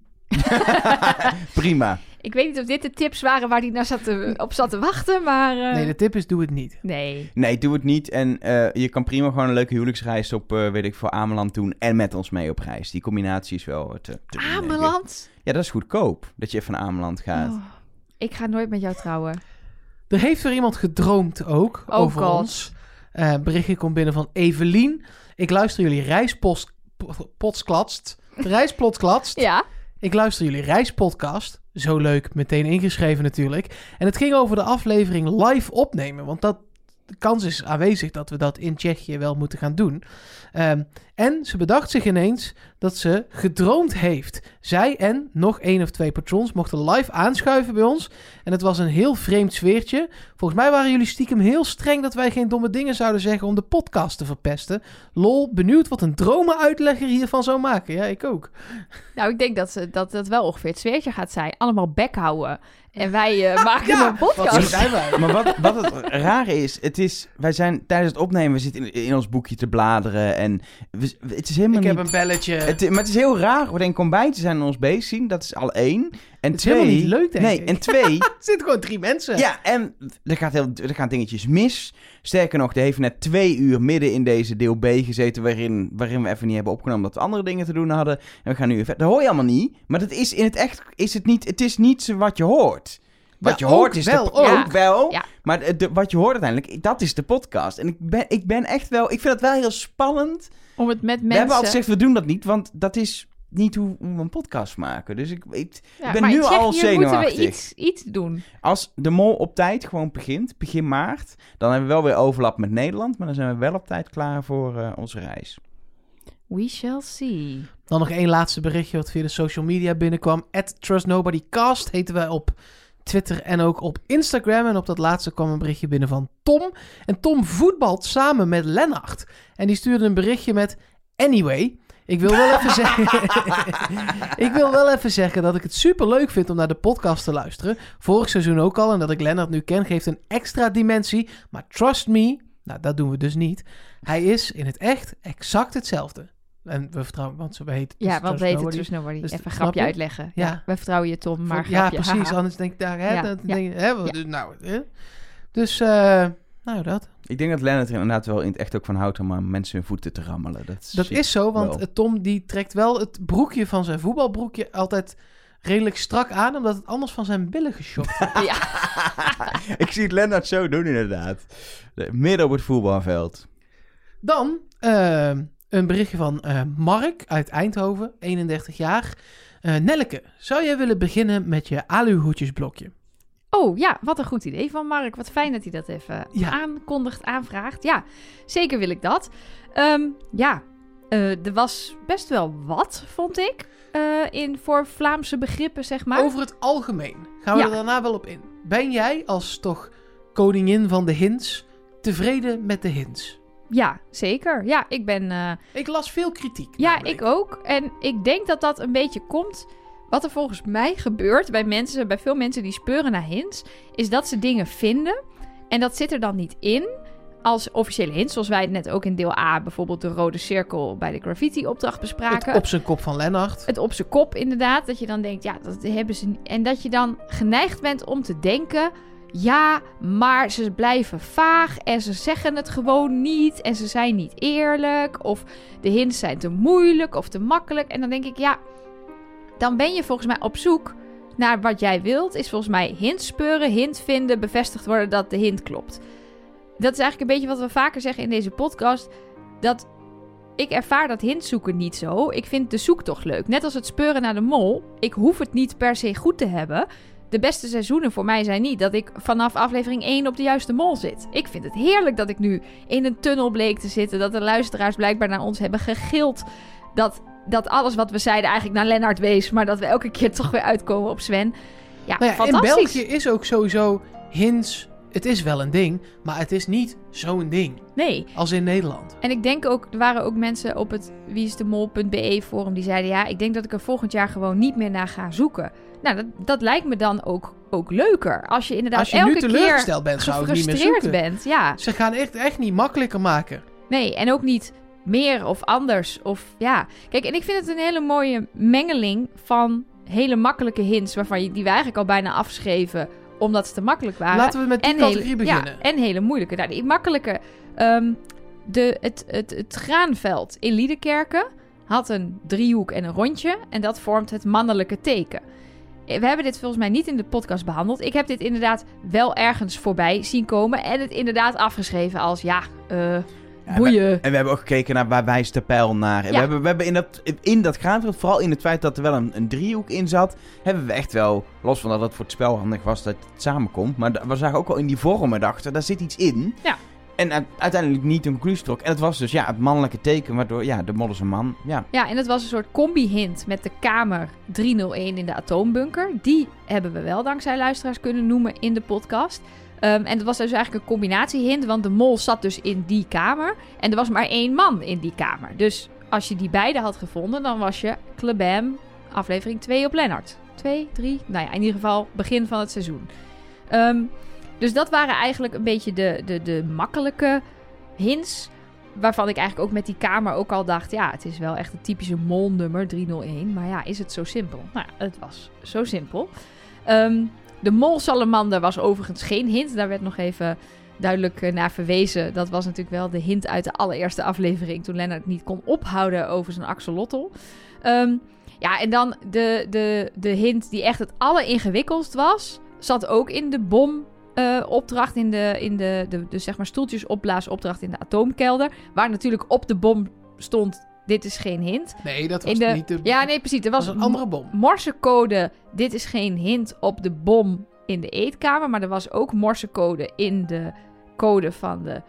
S3: Prima.
S2: Ik weet niet of dit de tips waren waar hij naar zat te- op zat te wachten, maar... eh,
S1: Nee, de tip is doe het niet.
S2: nee.
S3: Nee, doe het niet. En eh, je kan prima gewoon een leuke huwelijksreis op, eh, weet ik veel, Ameland doen. En met ons mee op reis. Die combinatie is wel eh, te, te doen, denk ik.
S2: Ameland?
S3: Ja, dat is goedkoop. Dat je even naar Ameland gaat.
S2: Oh, ik ga nooit met jou trouwen.
S1: Er heeft weer iemand gedroomd ook
S2: Oh,
S1: over
S2: God.
S1: ons. Eh berichtje komt binnen van Evelien. Ik luister jullie reispotsklatst. Reisplotklatst.
S2: Ja?
S1: Ik luister jullie reispodcast. Zo leuk, meteen ingeschreven natuurlijk. En het ging over de aflevering live opnemen. Want dat, de kans is aanwezig dat we dat in Tsjechië wel moeten gaan doen. Ehm, En ze bedacht zich ineens dat ze gedroomd heeft. Zij en nog één of twee patrons mochten live aanschuiven bij ons. En het was een heel vreemd sfeertje. Volgens mij waren jullie stiekem heel streng dat wij geen domme dingen zouden zeggen om de podcast te verpesten. Lol, benieuwd wat een dromenuitlegger hiervan zou maken. Ja, ik ook.
S2: Nou, ik denk dat ze, dat het wel ongeveer het sfeertje gaat zijn. Allemaal bek houden. En wij eh, maken
S1: Ja,
S2: een podcast.
S1: Wat zijn wij?
S3: Maar wat, wat het rare is, het is, wij zijn tijdens het opnemen, we zitten in, in ons boekje te bladeren en we- het is helemaal
S1: Ik heb
S3: niet...
S1: een belletje.
S3: Het, maar het is heel raar, we denken ontbijtjes zijn ons bezig zien, dat is al één. En
S1: Het is
S3: twee,
S1: helemaal niet leuk, denk
S3: Nee,
S1: ik.
S3: en twee,
S1: Er zitten gewoon drie mensen.
S3: ja, en er, gaat heel, er gaan dingetjes mis. Sterker nog, er heeft net twee uur midden in deze deel B gezeten, waarin, waarin we even niet hebben opgenomen dat we andere dingen te doen hadden. En we gaan nu even, dat hoor je allemaal niet, maar dat is in het echt, is het niet, het is niet zo wat je hoort. Wat
S1: Ja,
S3: je hoort
S1: ook
S3: is
S1: wel,
S3: de,
S2: ook.
S3: ook wel.
S2: Ja.
S3: Maar de- de- wat je hoort uiteindelijk, dat is de podcast. En ik ben, ik ben echt wel, ik vind het wel heel spannend.
S2: Om het met
S3: We hebben
S2: mensen...
S3: altijd gezegd, we doen dat niet, want dat is niet hoe, hoe we een podcast maken. Dus ik, ik,
S2: Ja,
S3: ik ben
S2: maar
S3: nu
S2: ik zeg,
S3: al
S2: hier moeten we
S3: zenuwachtig.
S2: iets, iets doen.
S3: Als de mol op tijd gewoon begint, begin maart, dan hebben we wel weer overlap met Nederland. Maar dan zijn we wel op tijd klaar voor eh, onze reis.
S2: We shall see.
S1: Dan nog één laatste berichtje wat via de social media binnenkwam. At TrustNobodyCast heten wij op Twitter en ook op Instagram. En op dat laatste kwam een berichtje binnen van Tom. En Tom voetbalt samen met Lennart. En die stuurde een berichtje met... Anyway, ik wil wel even zeggen... ik wil wel even zeggen dat ik het super leuk vind om naar de podcast te luisteren. Vorig seizoen ook al. En dat ik Lennart nu ken geeft een extra dimensie. Maar trust me... Nou, dat doen we dus niet. Hij is in het echt exact hetzelfde. En we vertrouwen, want ze heet
S2: Ja,
S1: dus
S2: want
S1: Trust
S2: weet het
S1: Nobody.
S2: dus nobody.
S1: Dus
S2: Even een
S1: snap
S2: grapje
S1: je?
S2: uitleggen.
S1: Ja.
S2: Ja. We vertrouwen je, Tom, maar
S1: Van- ja,
S2: grapje.
S1: precies.
S2: haha.
S1: Anders denk ik daar, hè,
S2: Ja,
S1: dan
S2: ja.
S1: denk je, hè, wat-
S2: Ja.
S1: dus nou, hè. Dus, eh, nou dat.
S3: Ik denk dat Lennart er inderdaad wel in het echt ook van houdt om aan mensen hun voeten te rammelen. Dat is,
S1: Dat is zo, want
S3: wel.
S1: eh, Tom die trekt wel het broekje van zijn voetbalbroekje altijd redelijk strak aan, omdat het anders van zijn billen geschopt wordt.
S3: Ik zie het Lennart zo doen inderdaad. De- Midden op het voetbalveld.
S1: Dan eh, een berichtje van eh, Mark uit Eindhoven, 31 jaar. Eh Nelleke, zou jij willen beginnen met je aluhoedjesblokje?
S2: Oh ja, wat een goed idee van Mark. Wat fijn dat hij dat even
S1: Ja.
S2: aankondigt, aanvraagt. Ja, zeker wil ik dat. Ehm, ja, eh, er was best wel wat, vond ik. eh, in voor Vlaamse begrippen, zeg maar.
S1: Over het algemeen gaan we
S2: Ja.
S1: er daarna wel op in. Ben jij als toch koningin van de hints tevreden met de hints?
S2: Ja, zeker. Ja, ik ben. eh,
S1: Ik las veel kritiek.
S2: Ja,
S1: namelijk.
S2: ik ook. En ik denk dat dat een beetje komt. Wat er volgens mij gebeurt bij mensen, bij veel mensen die speuren naar hints, is dat ze dingen vinden. En dat zit er dan niet in als officiële hints, zoals wij het net ook in deel A, bijvoorbeeld de rode cirkel bij de graffiti-opdracht bespraken.
S1: Het op zijn kop van Lennart.
S2: Het op zijn kop, inderdaad. Dat je dan denkt, ja, dat hebben ze. niet. En dat je dan geneigd bent om te denken. Ja, maar ze blijven vaag en ze zeggen het gewoon niet. En ze zijn niet eerlijk. Of de hints zijn te moeilijk of te makkelijk. En dan denk ik, ja, dan ben je volgens mij op zoek naar wat jij wilt. Is volgens mij hint speuren, hint vinden, bevestigd worden dat de hint klopt. Dat is eigenlijk een beetje wat we vaker zeggen in deze podcast. Dat ik ervaar dat hintzoeken niet zo. Ik vind de zoektocht leuk. Net als het speuren naar de mol. Ik hoef het niet per se goed te hebben. De beste seizoenen voor mij zijn niet dat ik vanaf aflevering 1 op de juiste mol zit. Ik vind het heerlijk dat ik nu in een tunnel bleek te zitten. Dat de luisteraars blijkbaar naar ons hebben gegild. Dat, dat alles wat we zeiden eigenlijk naar Lennart wees. Maar dat we elke keer toch weer uitkomen op Sven. Ja,
S1: Nou ja, in
S2: fantastisch.
S1: België is ook sowieso hints. Het is wel een ding, maar het is niet zo'n ding
S2: Nee.
S1: als in Nederland.
S2: En ik denk ook, er waren ook mensen op het wieisdemol.be E forum die zeiden... ja, ik denk dat ik er volgend jaar gewoon niet meer naar ga zoeken. Nou, dat, dat lijkt me dan ook, ook leuker. Als je inderdaad
S1: Als je
S2: elke
S1: nu teleurgesteld
S2: keer
S1: bent, zou ik niet meer
S2: gefrustreerd
S1: zoeken.
S2: bent. Ja,
S1: Ze gaan echt, echt niet makkelijker maken.
S2: nee, en ook niet meer of anders. Of ja, kijk, en ik vind het een hele mooie mengeling van hele makkelijke hints... Waarvan je, die we eigenlijk al bijna afschreven omdat ze te makkelijk waren.
S1: Laten we met die categorie beginnen.
S2: Ja, en hele moeilijke. Nou, die makkelijke. ehm, de, het, het, het graanveld in Liedekerken had een driehoek en een rondje. En dat vormt het mannelijke teken. Eh, We hebben dit volgens mij niet in de podcast behandeld. Ik heb dit inderdaad wel ergens voorbij zien komen. En het inderdaad afgeschreven als ja, eh
S3: Ja,
S2: boeien.
S3: En we hebben ook gekeken naar waar wijst de pijl naar.
S2: Ja.
S3: En we hebben, we hebben in dat, in dat graanveld, vooral in het feit dat er wel een, een driehoek in zat, hebben we echt wel, los van dat het voor het spel handig was dat het samenkomt, maar da- we zagen ook wel in die vormen dachten, daar zit iets in.
S2: Ja.
S3: En u- uiteindelijk niet een conclusie trok. En het was dus ja, het mannelijke teken, waardoor ja, de modder is een man. Ja.
S2: Ja, en dat was een soort combi-hint met de kamer 301 in de atoombunker. Die hebben we wel dankzij luisteraars kunnen noemen in de podcast. Ehm, en dat was dus eigenlijk een combinatie-hint, want de mol zat dus in die kamer. En er was maar één man in die kamer. Dus als je die beide had gevonden, dan was je klebam aflevering 2 op Lennart. 2, 3, nou ja, in ieder geval begin van het seizoen. Ehm, dus dat waren eigenlijk een beetje de, de, de makkelijke hints. Waarvan ik eigenlijk ook met die kamer ook al dacht... ja, het is wel echt het typische molnummer 301. Maar ja, is het zo simpel? Nou ja, het was zo simpel. Ehm, de molsalamander was overigens geen hint. Daar werd nog even duidelijk eh, naar verwezen. Dat was natuurlijk wel de hint uit de allereerste aflevering... toen Lennart niet kon ophouden over zijn axolotl. Ehm, ja, en dan de, de, de hint die echt het alleringewikkeldst was... zat ook in de bom eh, opdracht in de, in de, de, de zeg maar stoeltjes opblaasopdracht in de atoomkelder. Waar natuurlijk op de bom stond: dit is geen hint.
S1: Nee, dat was
S2: in de,
S1: niet de...
S2: ja, nee, precies. Er
S1: dat
S2: was,
S1: was een andere bom.
S2: morsecode: dit is geen hint op de bom in de eetkamer. Maar er was ook morsecode in de code van de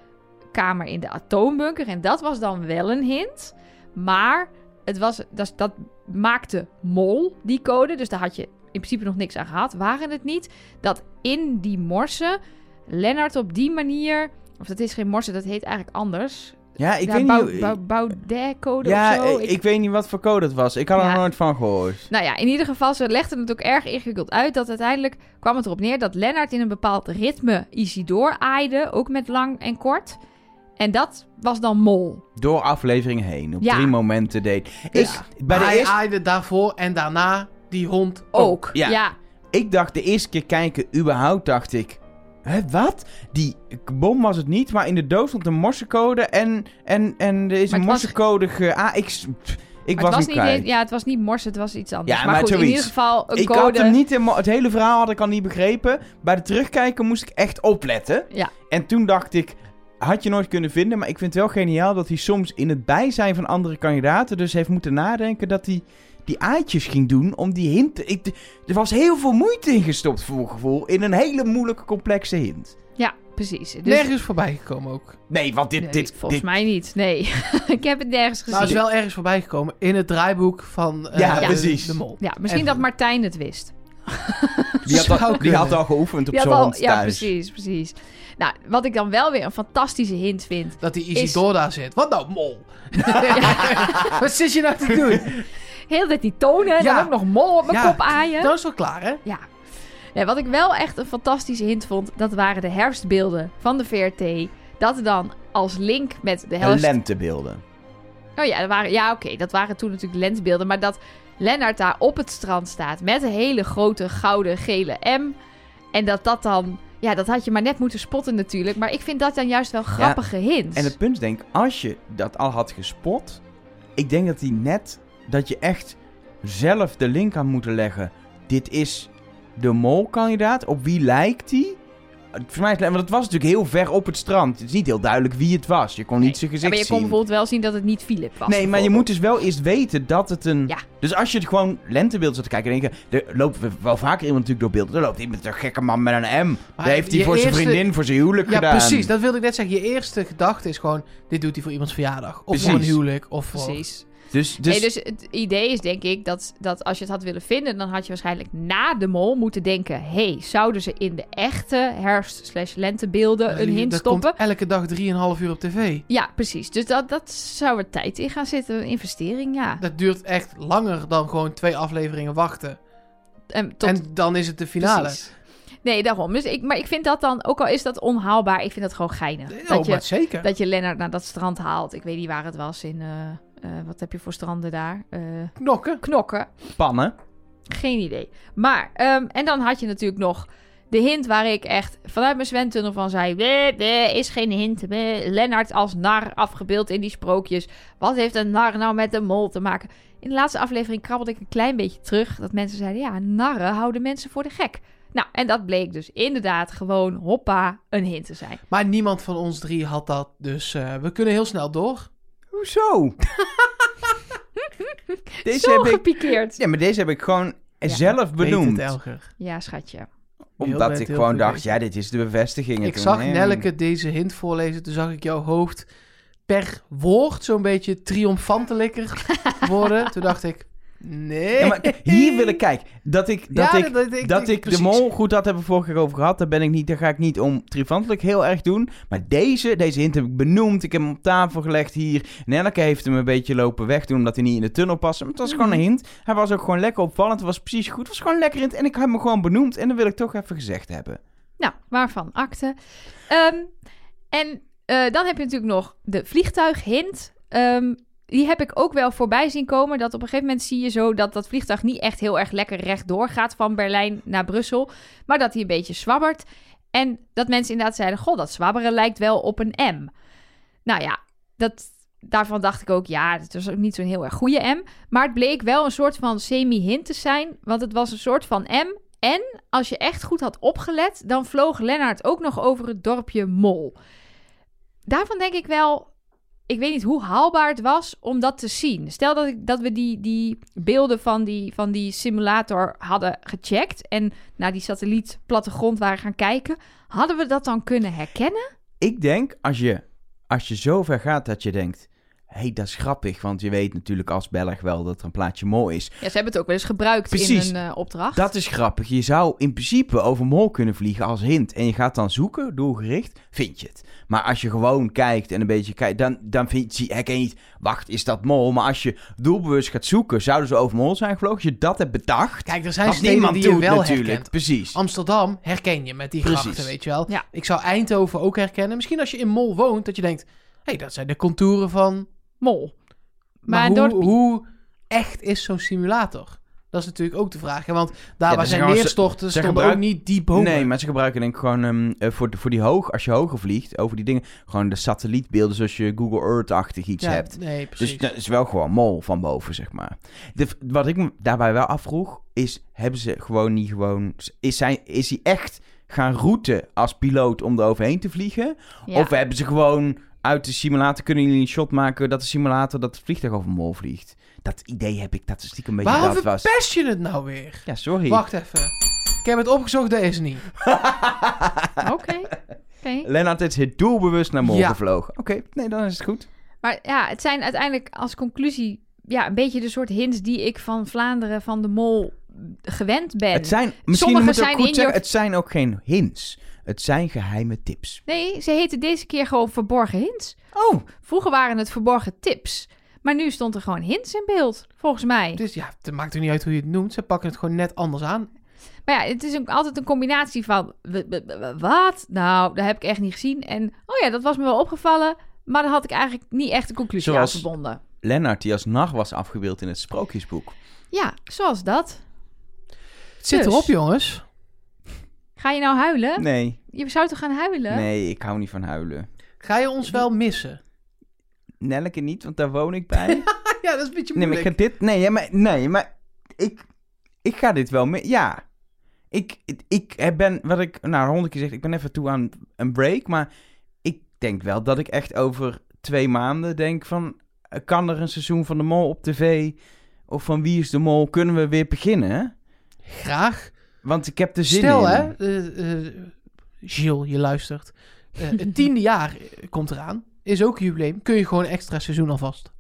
S2: kamer in de atoombunker. En dat was dan wel een hint. Maar het was, dat, dat maakte mol, die code. Dus daar had je in principe nog niks aan gehad. Waren het niet dat in die morsen Lennart op die manier... Of dat is geen morsen, dat heet eigenlijk anders.
S3: Ja, ik
S2: Ja,
S3: weet
S2: Bau-
S3: niet.
S2: Bau- Baudet-code
S3: ja, eh,
S2: of zo.
S3: ik, ik weet niet wat voor code het was. Ik had
S2: Ja.
S3: er nooit van gehoord.
S2: Nou ja, in ieder geval, ze legden het ook erg ingewikkeld uit. Dat uiteindelijk kwam het erop neer dat Lennart in een bepaald ritme Isidore aaide. Ook met lang en kort. En dat was dan mol.
S3: Door afleveringen heen. Op
S2: Ja.
S3: drie momenten deed. Ik, bij de
S1: Hij
S3: eerste,
S1: aaide daarvoor en daarna die hond ook.
S2: Ook.
S3: Oh, ja.
S2: ja.
S3: ik dacht de eerste keer kijken, überhaupt dacht ik. Hè, wat? Die bom was het niet, maar in de doos stond een morsecode en, en, en er is
S2: Maar
S3: een
S2: het was-
S3: morsecode ge... Ah, ik, s- pff, ik
S2: Maar
S3: was,
S2: het was
S3: hem
S2: niet
S3: kwijt.
S2: Ja, het was niet mors, het was iets anders.
S3: Ja,
S2: maar
S3: maar
S2: goed, in
S3: zoiets.
S2: ieder geval een
S3: Ik
S2: code.
S3: had hem niet helemaal... Het hele verhaal had ik al niet begrepen. Bij de terugkijken moest ik echt opletten.
S2: Ja.
S3: En toen dacht ik... Had je nooit kunnen vinden, maar ik vind het wel geniaal dat hij soms in het bijzijn van andere kandidaten dus heeft moeten nadenken dat hij die aaitjes ging doen om die hint... te- Ik, er was heel veel moeite in gestopt voor mijn gevoel in een hele moeilijke complexe hint.
S2: Ja, precies. Dus,
S1: Nergens voorbij gekomen ook.
S3: Nee, want dit...
S2: Nee,
S3: dit
S2: volgens
S3: dit,
S2: mij niet. Nee, ik heb het nergens gezien.
S1: Nou, het is wel ergens voorbij gekomen in het draaiboek van eh,
S3: Ja,
S1: de-
S3: precies.
S1: de mol.
S2: Ja, misschien
S1: Ergens.
S2: dat Martijn het wist.
S3: die, had
S1: zou
S3: al, die
S1: kunnen.
S3: had al geoefend op
S2: Die
S3: zo'n
S2: had al-
S3: hond
S2: ja,
S3: thuis.
S2: precies, precies. Nou, wat ik dan wel weer een fantastische hint vind,
S1: Dat die Isidore daar zit. Wat nou, mol? Wat zit je nou te doen?
S2: Heel de tijd die tonen en
S1: Ja.
S2: dan ook nog mol op mijn
S1: Ja.
S2: kop aaien.
S1: Dat is wel klaar, hè?
S2: Ja. Nee, wat ik wel echt een fantastische hint vond, dat waren de herfstbeelden van de VRT. Dat dan als link met de
S3: En
S2: herfst...
S3: lentebeelden.
S2: Oh ja, dat waren, ja oké, dat waren toen natuurlijk lensbeelden. Maar dat Lennart daar op het strand staat met een hele grote gouden gele M. En dat dat dan... Ja, dat had je maar net moeten spotten natuurlijk. Maar ik vind dat dan juist wel grappige hints.
S3: En het punt is, denk, ik, als je dat al had gespot, ik denk dat die net dat je echt zelf de link aan moeten leggen. Dit is de molkandidaat. Op wie lijkt die? Eh, Voor mij is, want het was natuurlijk heel ver op het strand. Het is niet heel duidelijk wie het was. Je kon niet zijn
S2: Ja,
S3: gezicht
S2: maar je kon
S3: zien.
S2: bijvoorbeeld wel zien dat het niet Philip was.
S3: Nee, maar je
S2: bijvoorbeeld.
S3: moet dus wel eerst weten dat het een...
S2: Ja.
S3: Dus als je het gewoon lentebeeld zat te kijken... en denk je, er loopt wel vaker iemand natuurlijk door beelden. Er loopt iemand een gekke man met een M.
S1: Maar
S3: Daar heeft hij
S1: je
S3: voor zijn
S1: eerste-
S3: vriendin, voor zijn huwelijk
S1: Ja,
S3: gedaan.
S1: precies. Dat wilde ik net zeggen. Je eerste gedachte is gewoon... Dit doet hij voor iemands verjaardag. Of voor een
S3: Precies.
S1: huwelijk. Of voor...
S2: Precies.
S3: Dus, dus,
S2: Nee, dus het idee is denk ik dat, dat als je het had willen vinden, dan had je waarschijnlijk na de mol moeten denken: hey, zouden ze in de echte herfst-slash-lentebeelden een hint
S1: dat
S2: stoppen?
S1: komt elke dag 3,5 uur op tv.
S2: Ja, precies. Dus dat, dat zou er tijd in gaan zitten, een investering, ja.
S1: Dat duurt echt langer dan gewoon twee afleveringen wachten.
S2: En tot
S1: En dan is het de finale.
S2: precies. Nee, daarom. Dus ik, maar ik vind dat dan, ook al is dat onhaalbaar, ik vind dat gewoon geinig.
S1: Nee,
S2: dat,
S1: oh, maar
S2: je,
S1: zeker.
S2: dat je Lennart naar dat strand haalt. Ik weet niet waar het was in. eh, eh, wat heb je voor stranden daar? Eh,
S1: Knokken.
S2: knokken.
S3: pannen.
S2: Geen idee. Maar, ehm, en dan had je natuurlijk nog de hint waar ik echt vanuit mijn zwemtunnel van zei... "Bleh, bleh, is geen hint. bleh." Lennart als nar afgebeeld in die sprookjes. Wat heeft een nar nou met een mol te maken? In de laatste aflevering krabbelde ik een klein beetje terug... dat mensen zeiden, ja, narren houden mensen voor de gek. Nou, en dat bleek dus inderdaad gewoon, hoppa, een hint te zijn.
S1: Maar niemand van ons drie had dat. Dus eh, we kunnen heel snel door.
S3: Hoezo? deze
S2: Zo
S3: heb ik,
S2: gepikeerd.
S3: ja, maar deze heb ik gewoon
S2: Ja.
S3: zelf
S1: Weet het,
S3: benoemd.
S1: Elger.
S2: Ja, schatje.
S1: Heel
S3: Omdat
S1: vet,
S3: ik
S1: heel
S3: gewoon
S1: goed
S3: dacht,
S1: weet.
S3: ja, dit is de bevestiging. En
S1: Ik
S3: toen,
S1: zag
S3: nee.
S1: Nelke deze hint voorlezen. Toen zag ik jouw hoofd per woord zo'n beetje triomfantelijker worden. Toen dacht ik, nee.
S3: Ja, maar hier wil ik kijken. Dat ik, dat
S1: Ja,
S3: ik, dat, ik de
S1: precies.
S3: mol, goed, dat hebben we vorige keer over gehad. Daar, ben ik niet, daar ga ik niet om triomfantelijk heel erg doen. Maar deze, deze hint heb ik benoemd. Ik heb hem op tafel gelegd hier. Nelke heeft hem een beetje lopen wegdoen omdat hij niet in de tunnel paste. Maar het
S1: Mm.
S3: was gewoon een hint. Hij was ook gewoon lekker opvallend. Het was precies goed. Het was gewoon lekker hint. En ik heb hem gewoon benoemd. En dat wil ik toch even gezegd hebben.
S2: Nou, waarvan akte. Ehm, en eh, dan heb je natuurlijk nog de vliegtuighint. Ehm, die heb ik ook wel voorbij zien komen. Dat op een gegeven moment zie je zo dat dat vliegtuig niet echt heel erg lekker rechtdoor gaat van Berlijn naar Brussel. Maar dat hij een beetje zwabbert. En dat mensen inderdaad zeiden: Goh, dat zwabberen lijkt wel op een M. Nou ja, dat, daarvan dacht ik ook: ja, het was ook niet zo'n heel erg goede M. Maar het bleek wel een soort van semi-hint te zijn. Want het was een soort van M als je echt goed had opgelet, dan vloog Lennart ook nog over het dorpje Mol. Daarvan denk ik wel, ik weet niet hoe haalbaar het was om dat te zien. Stel dat, ik, dat we die, die beelden van die, van die simulator hadden gecheckt en naar die satelliet plattegrond waren gaan kijken, hadden we dat dan kunnen herkennen?
S3: Ik denk, als je, als je zo ver gaat dat je denkt... Hé, hey, dat is grappig, want je weet natuurlijk als Belg wel dat er een plaatje mol is.
S2: Ja, ze hebben het ook wel eens gebruikt
S3: Precies.
S2: in een eh, opdracht.
S3: Dat is grappig. Je zou in principe over mol kunnen vliegen als hint. En je gaat dan zoeken, doelgericht, vind je het. Maar als je gewoon kijkt en een beetje kijkt, dan, dan vind, zie, herken je niet... Wacht, is dat mol? Maar als je doelbewust gaat zoeken, zouden ze over mol zijn gevlogen? Als je dat hebt bedacht,
S1: Kijk, er zijn
S3: dat
S1: steden
S3: niemand
S1: die je
S3: doet
S1: wel
S3: natuurlijk.
S1: herkent.
S3: Precies.
S1: Amsterdam herken je met die
S3: Precies.
S1: grachten, weet je wel.
S2: Ja.
S1: Ik zou Eindhoven ook herkennen. Misschien als je in Mol woont, dat je denkt... Hé, hey, dat zijn de contouren van Mol.
S2: Maar
S1: Maar,
S2: een
S1: hoe,
S2: dorpie.
S1: hoe echt is zo'n simulator? Dat is natuurlijk ook de vraag. Hè? Want daar
S3: dat
S1: waar
S3: is
S1: zij
S3: gewoon- ze-
S1: neerstorten,
S3: ze
S1: stonden ook
S3: gebruik-
S1: niet diep bomen.
S3: Nee, maar ze gebruiken denk ik gewoon ehm, eh, voor, de- voor die hoog, als je hoger vliegt, over die dingen, gewoon de satellietbeelden zoals je Google Earth-achtig iets
S1: Ja,
S3: hebt.
S1: Nee, precies.
S3: Dus dat is wel gewoon mol van boven, zeg maar. De, wat ik me daarbij wel afvroeg, is: hebben ze gewoon niet gewoon. Is, zijn, is hij echt gaan routen als piloot om er overheen te vliegen?
S2: Ja.
S3: Of hebben ze gewoon uit de simulator. Kunnen jullie een shot maken dat de simulator dat het vliegtuig over mol vliegt? Dat idee heb ik dat is stiekem een beetje
S1: Waarom
S3: dat was.
S1: verpest je het nou weer?
S3: Ja, sorry.
S1: Wacht even. Ik heb het opgezocht, dat is niet.
S2: Oké, oké.
S3: Lennart is het doelbewust naar mol
S1: Ja.
S3: gevlogen. Oké, nee, dan is het goed.
S2: Maar ja, het zijn uiteindelijk als conclusie ja, een beetje de soort hints die ik van Vlaanderen van de Mol gewend ben.
S3: het zijn, misschien
S2: sommige
S3: moet ik ook
S2: zijn
S3: goed
S2: in
S3: zeggen,
S2: je-
S3: het zijn ook geen hints. Het zijn geheime tips.
S2: Nee, ze heten deze keer gewoon verborgen hints.
S3: Oh,
S2: Vroeger waren het verborgen tips. Maar nu stond er gewoon hints in beeld, volgens mij.
S1: Dus ja, het maakt er niet uit hoe je het noemt. Ze pakken het gewoon net anders aan.
S2: Maar ja, het is ook altijd een combinatie van... w- w- w- Wat? Nou, dat heb ik echt niet gezien. En oh ja, dat was me wel opgevallen. Maar daar had ik eigenlijk niet echt een conclusie
S3: Zoals-
S2: aan verbonden.
S3: Lennart die als nacht was afgebeeld in het sprookjesboek.
S2: Ja, zoals dat.
S1: Het zit
S2: Dus.
S1: erop, jongens.
S2: Ga je nou huilen?
S3: Nee,
S2: Je zou toch gaan huilen?
S3: nee, ik hou niet van huilen.
S1: Ga je ons wel missen?
S3: Nelke niet, want daar woon ik bij.
S1: Ja, dat is een beetje
S3: nee, maar ik ga dit... Nee, ja, maar, nee, maar ik, ik ga dit wel mee... Ja. Ik, ik ben, wat ik nou honderd keer zeg, ik ben even toe aan een break. Maar ik denk wel dat ik echt over twee maanden denk van... eh, Kan er een seizoen van de mol op tv? Of van Wie is de mol? Kunnen we weer beginnen?
S1: Graag.
S3: Want ik heb de zin
S1: Stel,
S3: in.
S1: hè. eh, eh, Gilles, je luistert. Eh, het tiende jaar eh, komt eraan. Is ook een jubileum. Kun je gewoon een extra seizoen alvast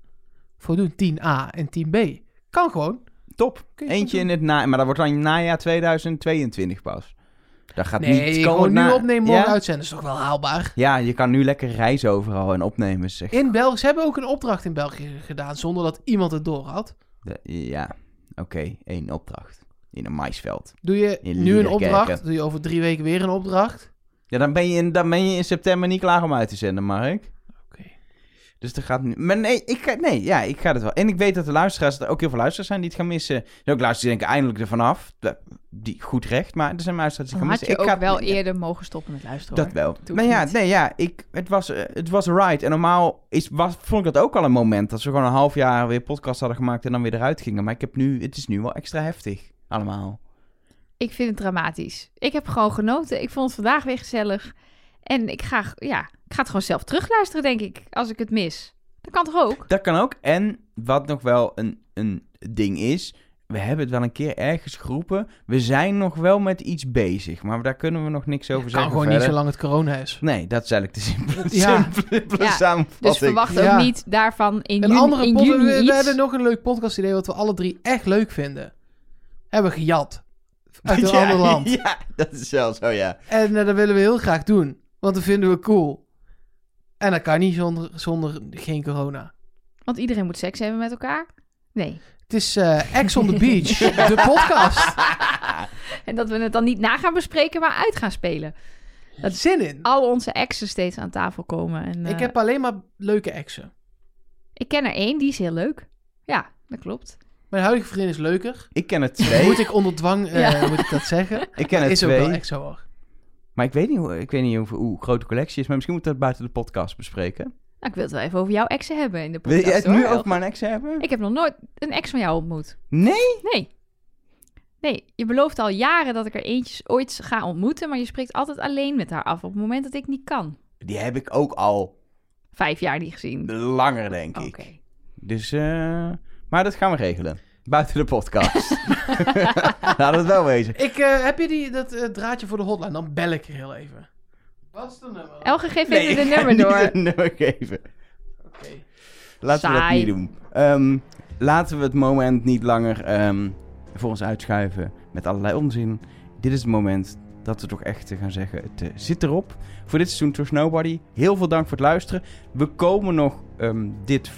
S1: voordoen. 10a en 10b. Kan gewoon.
S3: Top.
S1: Kun je
S3: Eentje in het na, maar dat wordt dan najaar 2022 pas. Dat gaat
S1: Nee,
S3: niet.
S1: gewoon
S3: komend
S1: nu
S3: na-
S1: opnemen, morgen
S3: ja?
S1: uitzenden. is toch wel haalbaar?
S3: Ja, je kan nu lekker reizen overal en opnemen. Zeg.
S1: In België, ze hebben ook een opdracht in België gedaan zonder dat iemand het door had.
S3: De- ja, oké, één opdracht in een maisveld.
S1: Doe je
S3: In
S1: nu een
S3: Liederkerken.
S1: opdracht, doe je over drie weken weer een opdracht.
S3: Ja, dan ben, je in, dan ben je in september niet klaar om uit te zenden, Mark.
S1: Oké.
S3: Dus dat gaat nu. Maar nee, ik ga, nee, ja, ik ga het wel. En ik weet dat de luisteraars, dat er ook heel veel luisteraars zijn die het gaan missen. En ook luisteraars die denken eindelijk ervan af. Dat- Die, goed recht, maar er zijn luisteraars die
S2: Dan
S3: gaan
S2: had
S3: missen.
S2: je
S3: ik ga
S2: ook
S3: het
S2: wel
S3: ja.
S2: eerder mogen stoppen met luisteren.
S3: Dat
S2: hoor.
S3: wel.
S2: hoeft
S3: Maar ja,
S2: niet.
S3: nee, ja ik, het, was, eh, het was een ride. En normaal is, was, vond ik dat ook al een moment. Dat ze gewoon een half jaar weer podcast hadden gemaakt en dan weer eruit gingen. Maar ik heb nu, het is nu wel extra heftig. Allemaal.
S2: Ik vind het dramatisch. Ik heb gewoon genoten. Ik vond het vandaag weer gezellig. En ik ga, ja, ik ga het gewoon zelf terugluisteren, denk ik, als ik het mis. Dat kan toch ook?
S3: Dat kan ook. En wat nog wel een, een ding is. we hebben het wel een keer ergens geroepen. We zijn nog wel met iets bezig, maar daar kunnen we nog niks over
S1: kan
S3: zeggen.
S1: gewoon niet
S3: verder.
S1: zolang het corona is.
S3: Nee, dat is eigenlijk de simpele,
S1: Ja.
S3: simpele
S2: Ja,
S3: samenvatting.
S2: Dus verwacht
S1: Ja.
S2: ook niet daarvan in
S1: Een
S2: juni,
S1: andere
S2: in
S1: pod-
S2: juni
S1: we, we
S2: iets.
S1: hebben nog een leuk podcast idee wat we alle drie echt leuk vinden. Hebben we gejat. Uit een
S3: Ja,
S1: ander land.
S3: Ja, dat is zelfs zo, ja.
S1: En eh, dat willen we heel graag doen. Want dat vinden we cool. En dat kan niet zonder, zonder geen corona.
S2: Want iedereen moet seks hebben met elkaar. Nee.
S1: Het is eh Ex on the Beach, de podcast.
S2: En dat we het dan niet na gaan bespreken, maar uit gaan spelen. Dat-
S1: Zin in.
S2: Al onze exen steeds aan tafel komen. En, eh,
S1: Ik heb alleen maar leuke exen.
S2: ik ken er één, die is heel leuk. Ja, dat klopt.
S1: Mijn huidige vriendin is leuker.
S3: Ik ken er twee.
S1: Moet ik onder dwang, eh,
S2: Ja.
S1: moet ik dat zeggen?
S3: Ik ken er
S1: Is ook wel
S3: twee.
S1: echt zo hoor.
S3: Maar ik weet niet, hoe, ik weet niet hoe, hoe groot de collectie is. Maar misschien moeten we dat buiten de podcast bespreken.
S2: Nou, ik wil het wel even over jouw exen hebben in de
S3: Wil
S2: podcast.
S3: je het nu
S2: hoor.
S3: ook maar een ex hebben?
S2: Ik heb nog nooit een ex van jou ontmoet.
S3: Nee?
S2: Nee. Nee, je belooft al jaren dat ik er eentje ooit ga ontmoeten, maar je spreekt altijd alleen met haar af op het moment dat ik niet kan.
S3: Die heb ik ook al
S2: Vijf jaar niet gezien.
S3: langer, denk
S2: Oké.
S3: ik. Dus, eh, maar dat gaan we regelen. Buiten de podcast. Laat het wel wezen.
S1: Ik, eh, heb je die, dat eh, draadje voor de hotline? Dan bel ik er heel even. Wat is de nummer?
S2: Elge, geef
S3: Nee,
S2: even
S3: ik
S2: de
S3: ga
S2: nummer
S3: niet
S2: door.
S3: het nummer geven.
S1: Oké.
S3: Laten we dat
S2: Saai.
S3: niet doen. Ehm, laten we het moment niet langer ehm, voor ons uitschuiven met allerlei onzin. Dit is het moment dat we toch echt eh, gaan zeggen, het eh, zit erop. Voor dit seizoen Trust Nobody, heel veel dank voor het luisteren. We komen nog ehm, dit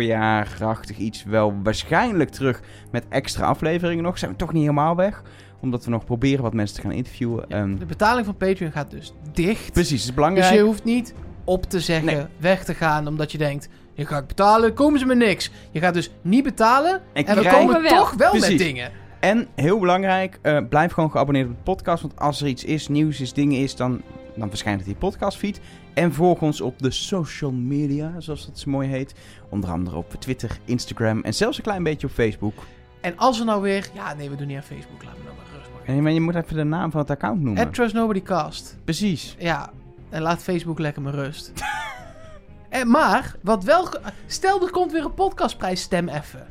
S3: voorjaarachtig iets wel waarschijnlijk terug met extra afleveringen nog. Zijn we toch niet helemaal weg, omdat we nog proberen wat mensen te gaan interviewen. Ehm,
S1: De betaling van Patreon gaat dus dicht.
S3: precies, het is
S1: Dus
S3: belangrijk.
S1: je hoeft niet op te zeggen,
S3: Nee.
S1: weg te gaan, omdat je denkt, je gaat betalen, komen ze me niks. Je gaat dus niet betalen
S3: En
S1: en we
S3: krijgen-
S1: komen
S2: wel.
S1: toch wel met
S3: Precies.
S1: dingen.
S3: En heel belangrijk, eh, blijf gewoon geabonneerd op de podcast. Want als er iets is, nieuws is, dingen is, dan, dan verschijnt het in je podcastfeed. En volg ons op de social media, zoals dat zo mooi heet. Onder andere op Twitter, Instagram en zelfs een klein beetje op Facebook.
S1: En als er nou weer, ja nee, we doen niet aan Facebook, laat me nou maar rustig.
S3: En je- maar je moet even de naam van het account noemen.
S1: At Trust Nobody Cast.
S3: Precies.
S1: Ja, en laat Facebook lekker mijn rust. en, maar, wat wel... ge- Stel, er komt weer een podcastprijs, stem even.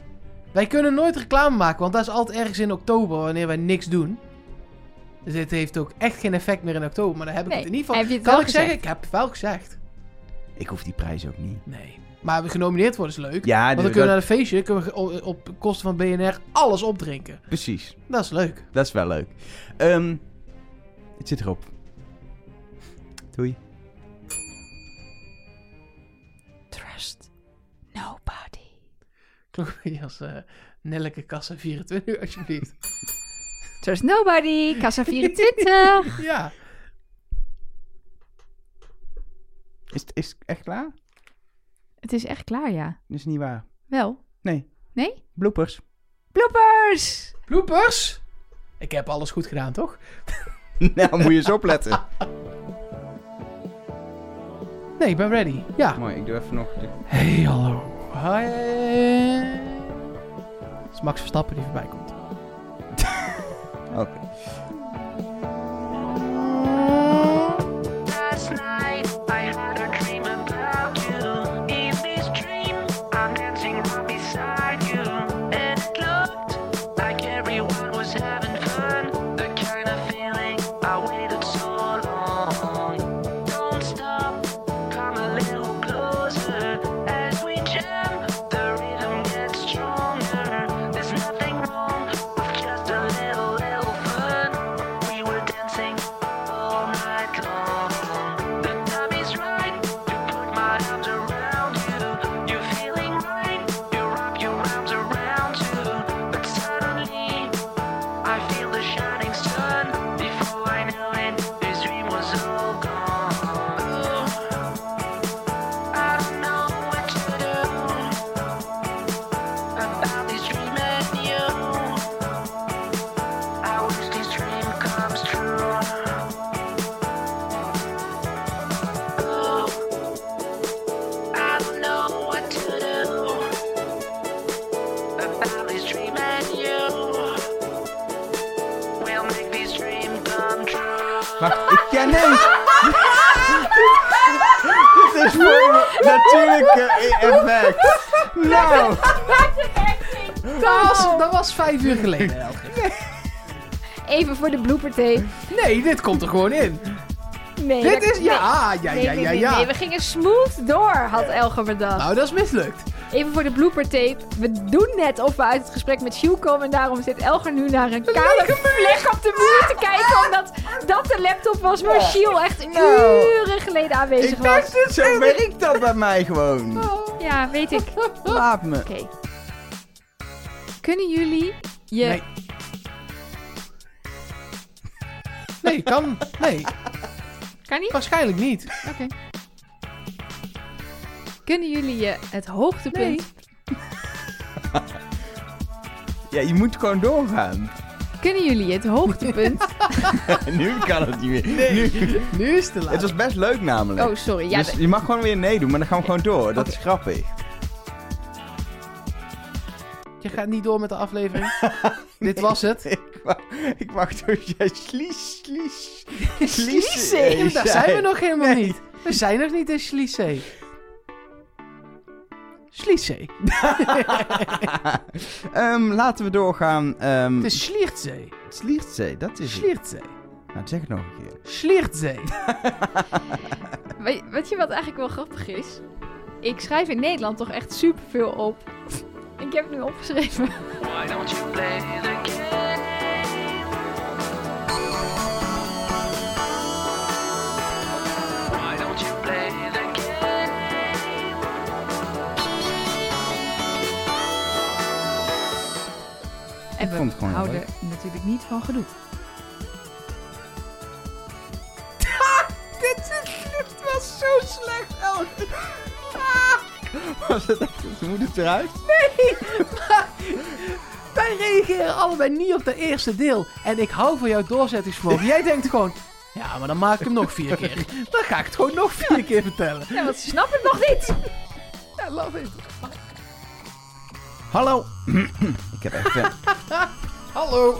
S1: Wij kunnen nooit reclame maken, want dat is altijd ergens in oktober, wanneer wij niks doen. Dus dit heeft ook echt geen effect meer in oktober, maar dan heb ik
S2: Nee,
S1: het in ieder geval...
S2: heb je het
S1: kan
S2: wel
S1: ik zeggen? Ik heb het wel gezegd.
S3: Ik hoef die prijs ook niet.
S1: Nee. Maar we genomineerd worden is leuk.
S3: Ja,
S1: want
S3: dus
S1: dan kunnen we
S3: dat-
S1: naar een feestje, kunnen we ge- o- op kosten van BNR alles opdrinken.
S3: precies.
S1: Dat is leuk.
S3: Dat is wel leuk. Ehm, het zit erop. Doei.
S2: Trust nobody.
S1: Klonk een beetje als eh, Nelleke Kassa 24, alsjeblieft.
S2: Trust nobody. Kassa 24.
S1: ja.
S3: Is het is het echt klaar?
S2: het is echt klaar, ja.
S3: Dat is niet waar.
S2: Wel.
S3: Nee.
S2: Nee?
S3: Bloopers.
S2: Bloopers!
S1: Bloepers! Ik heb alles goed gedaan, toch?
S3: nou, moet je eens opletten.
S1: Nee, ik ben ready. Ja.
S3: Mooi, ik doe even nog de
S1: Hey, hallo. Hi. Het is Max Verstappen die voorbij komt.
S3: Oké.
S7: Last night I had a dream about you. In this dream, I'm dancing right beside you. And it looked like everyone was having fun. The kind of feeling I waited so long. Don't stop, come a little closer. As we jam, the rhythm gets stronger. There's nothing wrong with just a little, little fun. We were dancing all night long. The time is right to put my arms around you. You're feeling right. You wrap your arms around you. But suddenly, I feel the shining sun. Before I knew it, this dream was all gone. I don't know what to do about this dream and you. I wish this dream comes true. Oh, I don't know what to do about this dream and you. We'll make this dream come true.
S3: Wacht, ik ken hem! Dit is voor een natuurlijke effect. Nou!
S1: Dat was, dat was vijf uur geleden. Elke.
S2: Even voor de blooper tape.
S1: Nee, dit komt er gewoon in.
S2: Nee,
S1: dit
S2: dat-
S1: is... Ja, ja,
S2: Nee,
S1: ja,
S2: nee,
S1: ja,
S2: nee,
S1: ja.
S2: nee, we gingen smooth door, had Elger bedacht.
S1: Nou, dat is mislukt.
S2: Even voor de blooper tape. We doen net of we uit het gesprek met Sjoe komen. En daarom zit Elger nu naar een kale vlek op de muur te kijken. Omdat dat de laptop was waar Sjoe echt uren geleden aanwezig
S3: Ik dacht,
S2: was.
S3: dit, zo werkt dat bij mij gewoon.
S2: Oh. Ja, weet ik. Oké.
S3: Laat me.
S2: Kunnen jullie je...
S1: Nee. Nee, kan... Nee,
S2: Kan niet?
S1: waarschijnlijk niet.
S2: Oké. Kunnen jullie je het hoogtepunt...
S3: Ja, je moet gewoon doorgaan.
S2: Kunnen jullie het hoogtepunt...
S3: nu kan het niet meer. Nu.
S1: Nu is het te laat.
S3: Het was best leuk namelijk.
S2: Oh, sorry. Ja,
S3: dus je mag gewoon weer nee doen, maar dan gaan we gewoon door. Dat is grappig.
S1: Je gaat niet door met de aflevering. Dit was het.
S3: Ik wacht, ik wacht tot jij slies, slies,
S1: Schliessen. Daar zijn we nog helemaal niet. We zijn nog niet in Schliessen. Schliessen.
S3: Ehm, laten we doorgaan. ehm
S1: Het
S2: Dus-
S1: is Schliertzee.
S3: Sliertzee, dat is het.
S1: Schliertzee.
S3: Nou, zeg het nog een keer.
S1: Schliertzee.
S2: Weet, weet je wat eigenlijk wel grappig is? Ik schrijf in Nederland toch echt superveel op. Ik heb het nu opgeschreven.
S7: Why don't you play the game? Why don't you play the game?
S2: En we
S3: vond het gewoon heel
S2: houden natuurlijk niet van gedoe.
S3: Dit was zo slecht, Elk.
S1: Ah.
S3: Was het echt? Moet het eruit?
S1: Wij reageren allebei niet op dat eerste deel. En ik hou van jouw doorzettingsvermogen. Jij denkt gewoon... Ja, maar dan maak ik hem nog vier keer. Dan ga ik het gewoon nog vier keer vertellen.
S2: Ja, want ze snappen het nog niet.
S1: Ja, love it.
S3: Hallo. ik heb echt... eh,
S1: Hallo.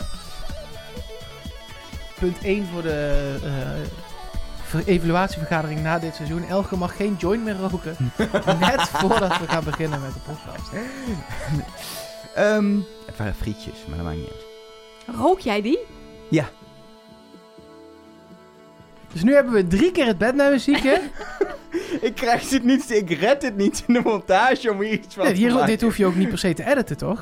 S1: Punt 1 voor de eh, ver- evaluatievergadering na dit seizoen. Elke mag geen joint meer roken. Net voordat we gaan beginnen met de podcast.
S3: ehm, het waren frietjes, maar dat maakt niet uit.
S2: Rook jij die?
S1: Dus nu hebben we drie keer het bednijmuziekje.
S3: Ik krijg dit niet, ik red dit niet in de montage om hier iets van
S1: Nee,
S3: te
S1: hier,
S3: maken.
S1: dit hoef je ook niet per se te editen, toch?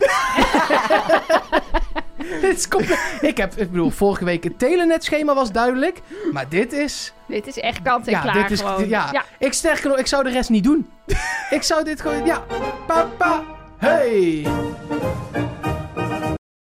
S1: dit is compleet- ik heb, ik bedoel, vorige week het telenetschema was duidelijk. Maar dit is...
S2: Dit is echt kant en
S1: Ja,
S2: klaar
S1: dit is-
S2: gewoon.
S1: dit- ja. Ik sterker nog, ik zou de rest niet doen. ik zou dit gewoon... Ja. Papa. Hey.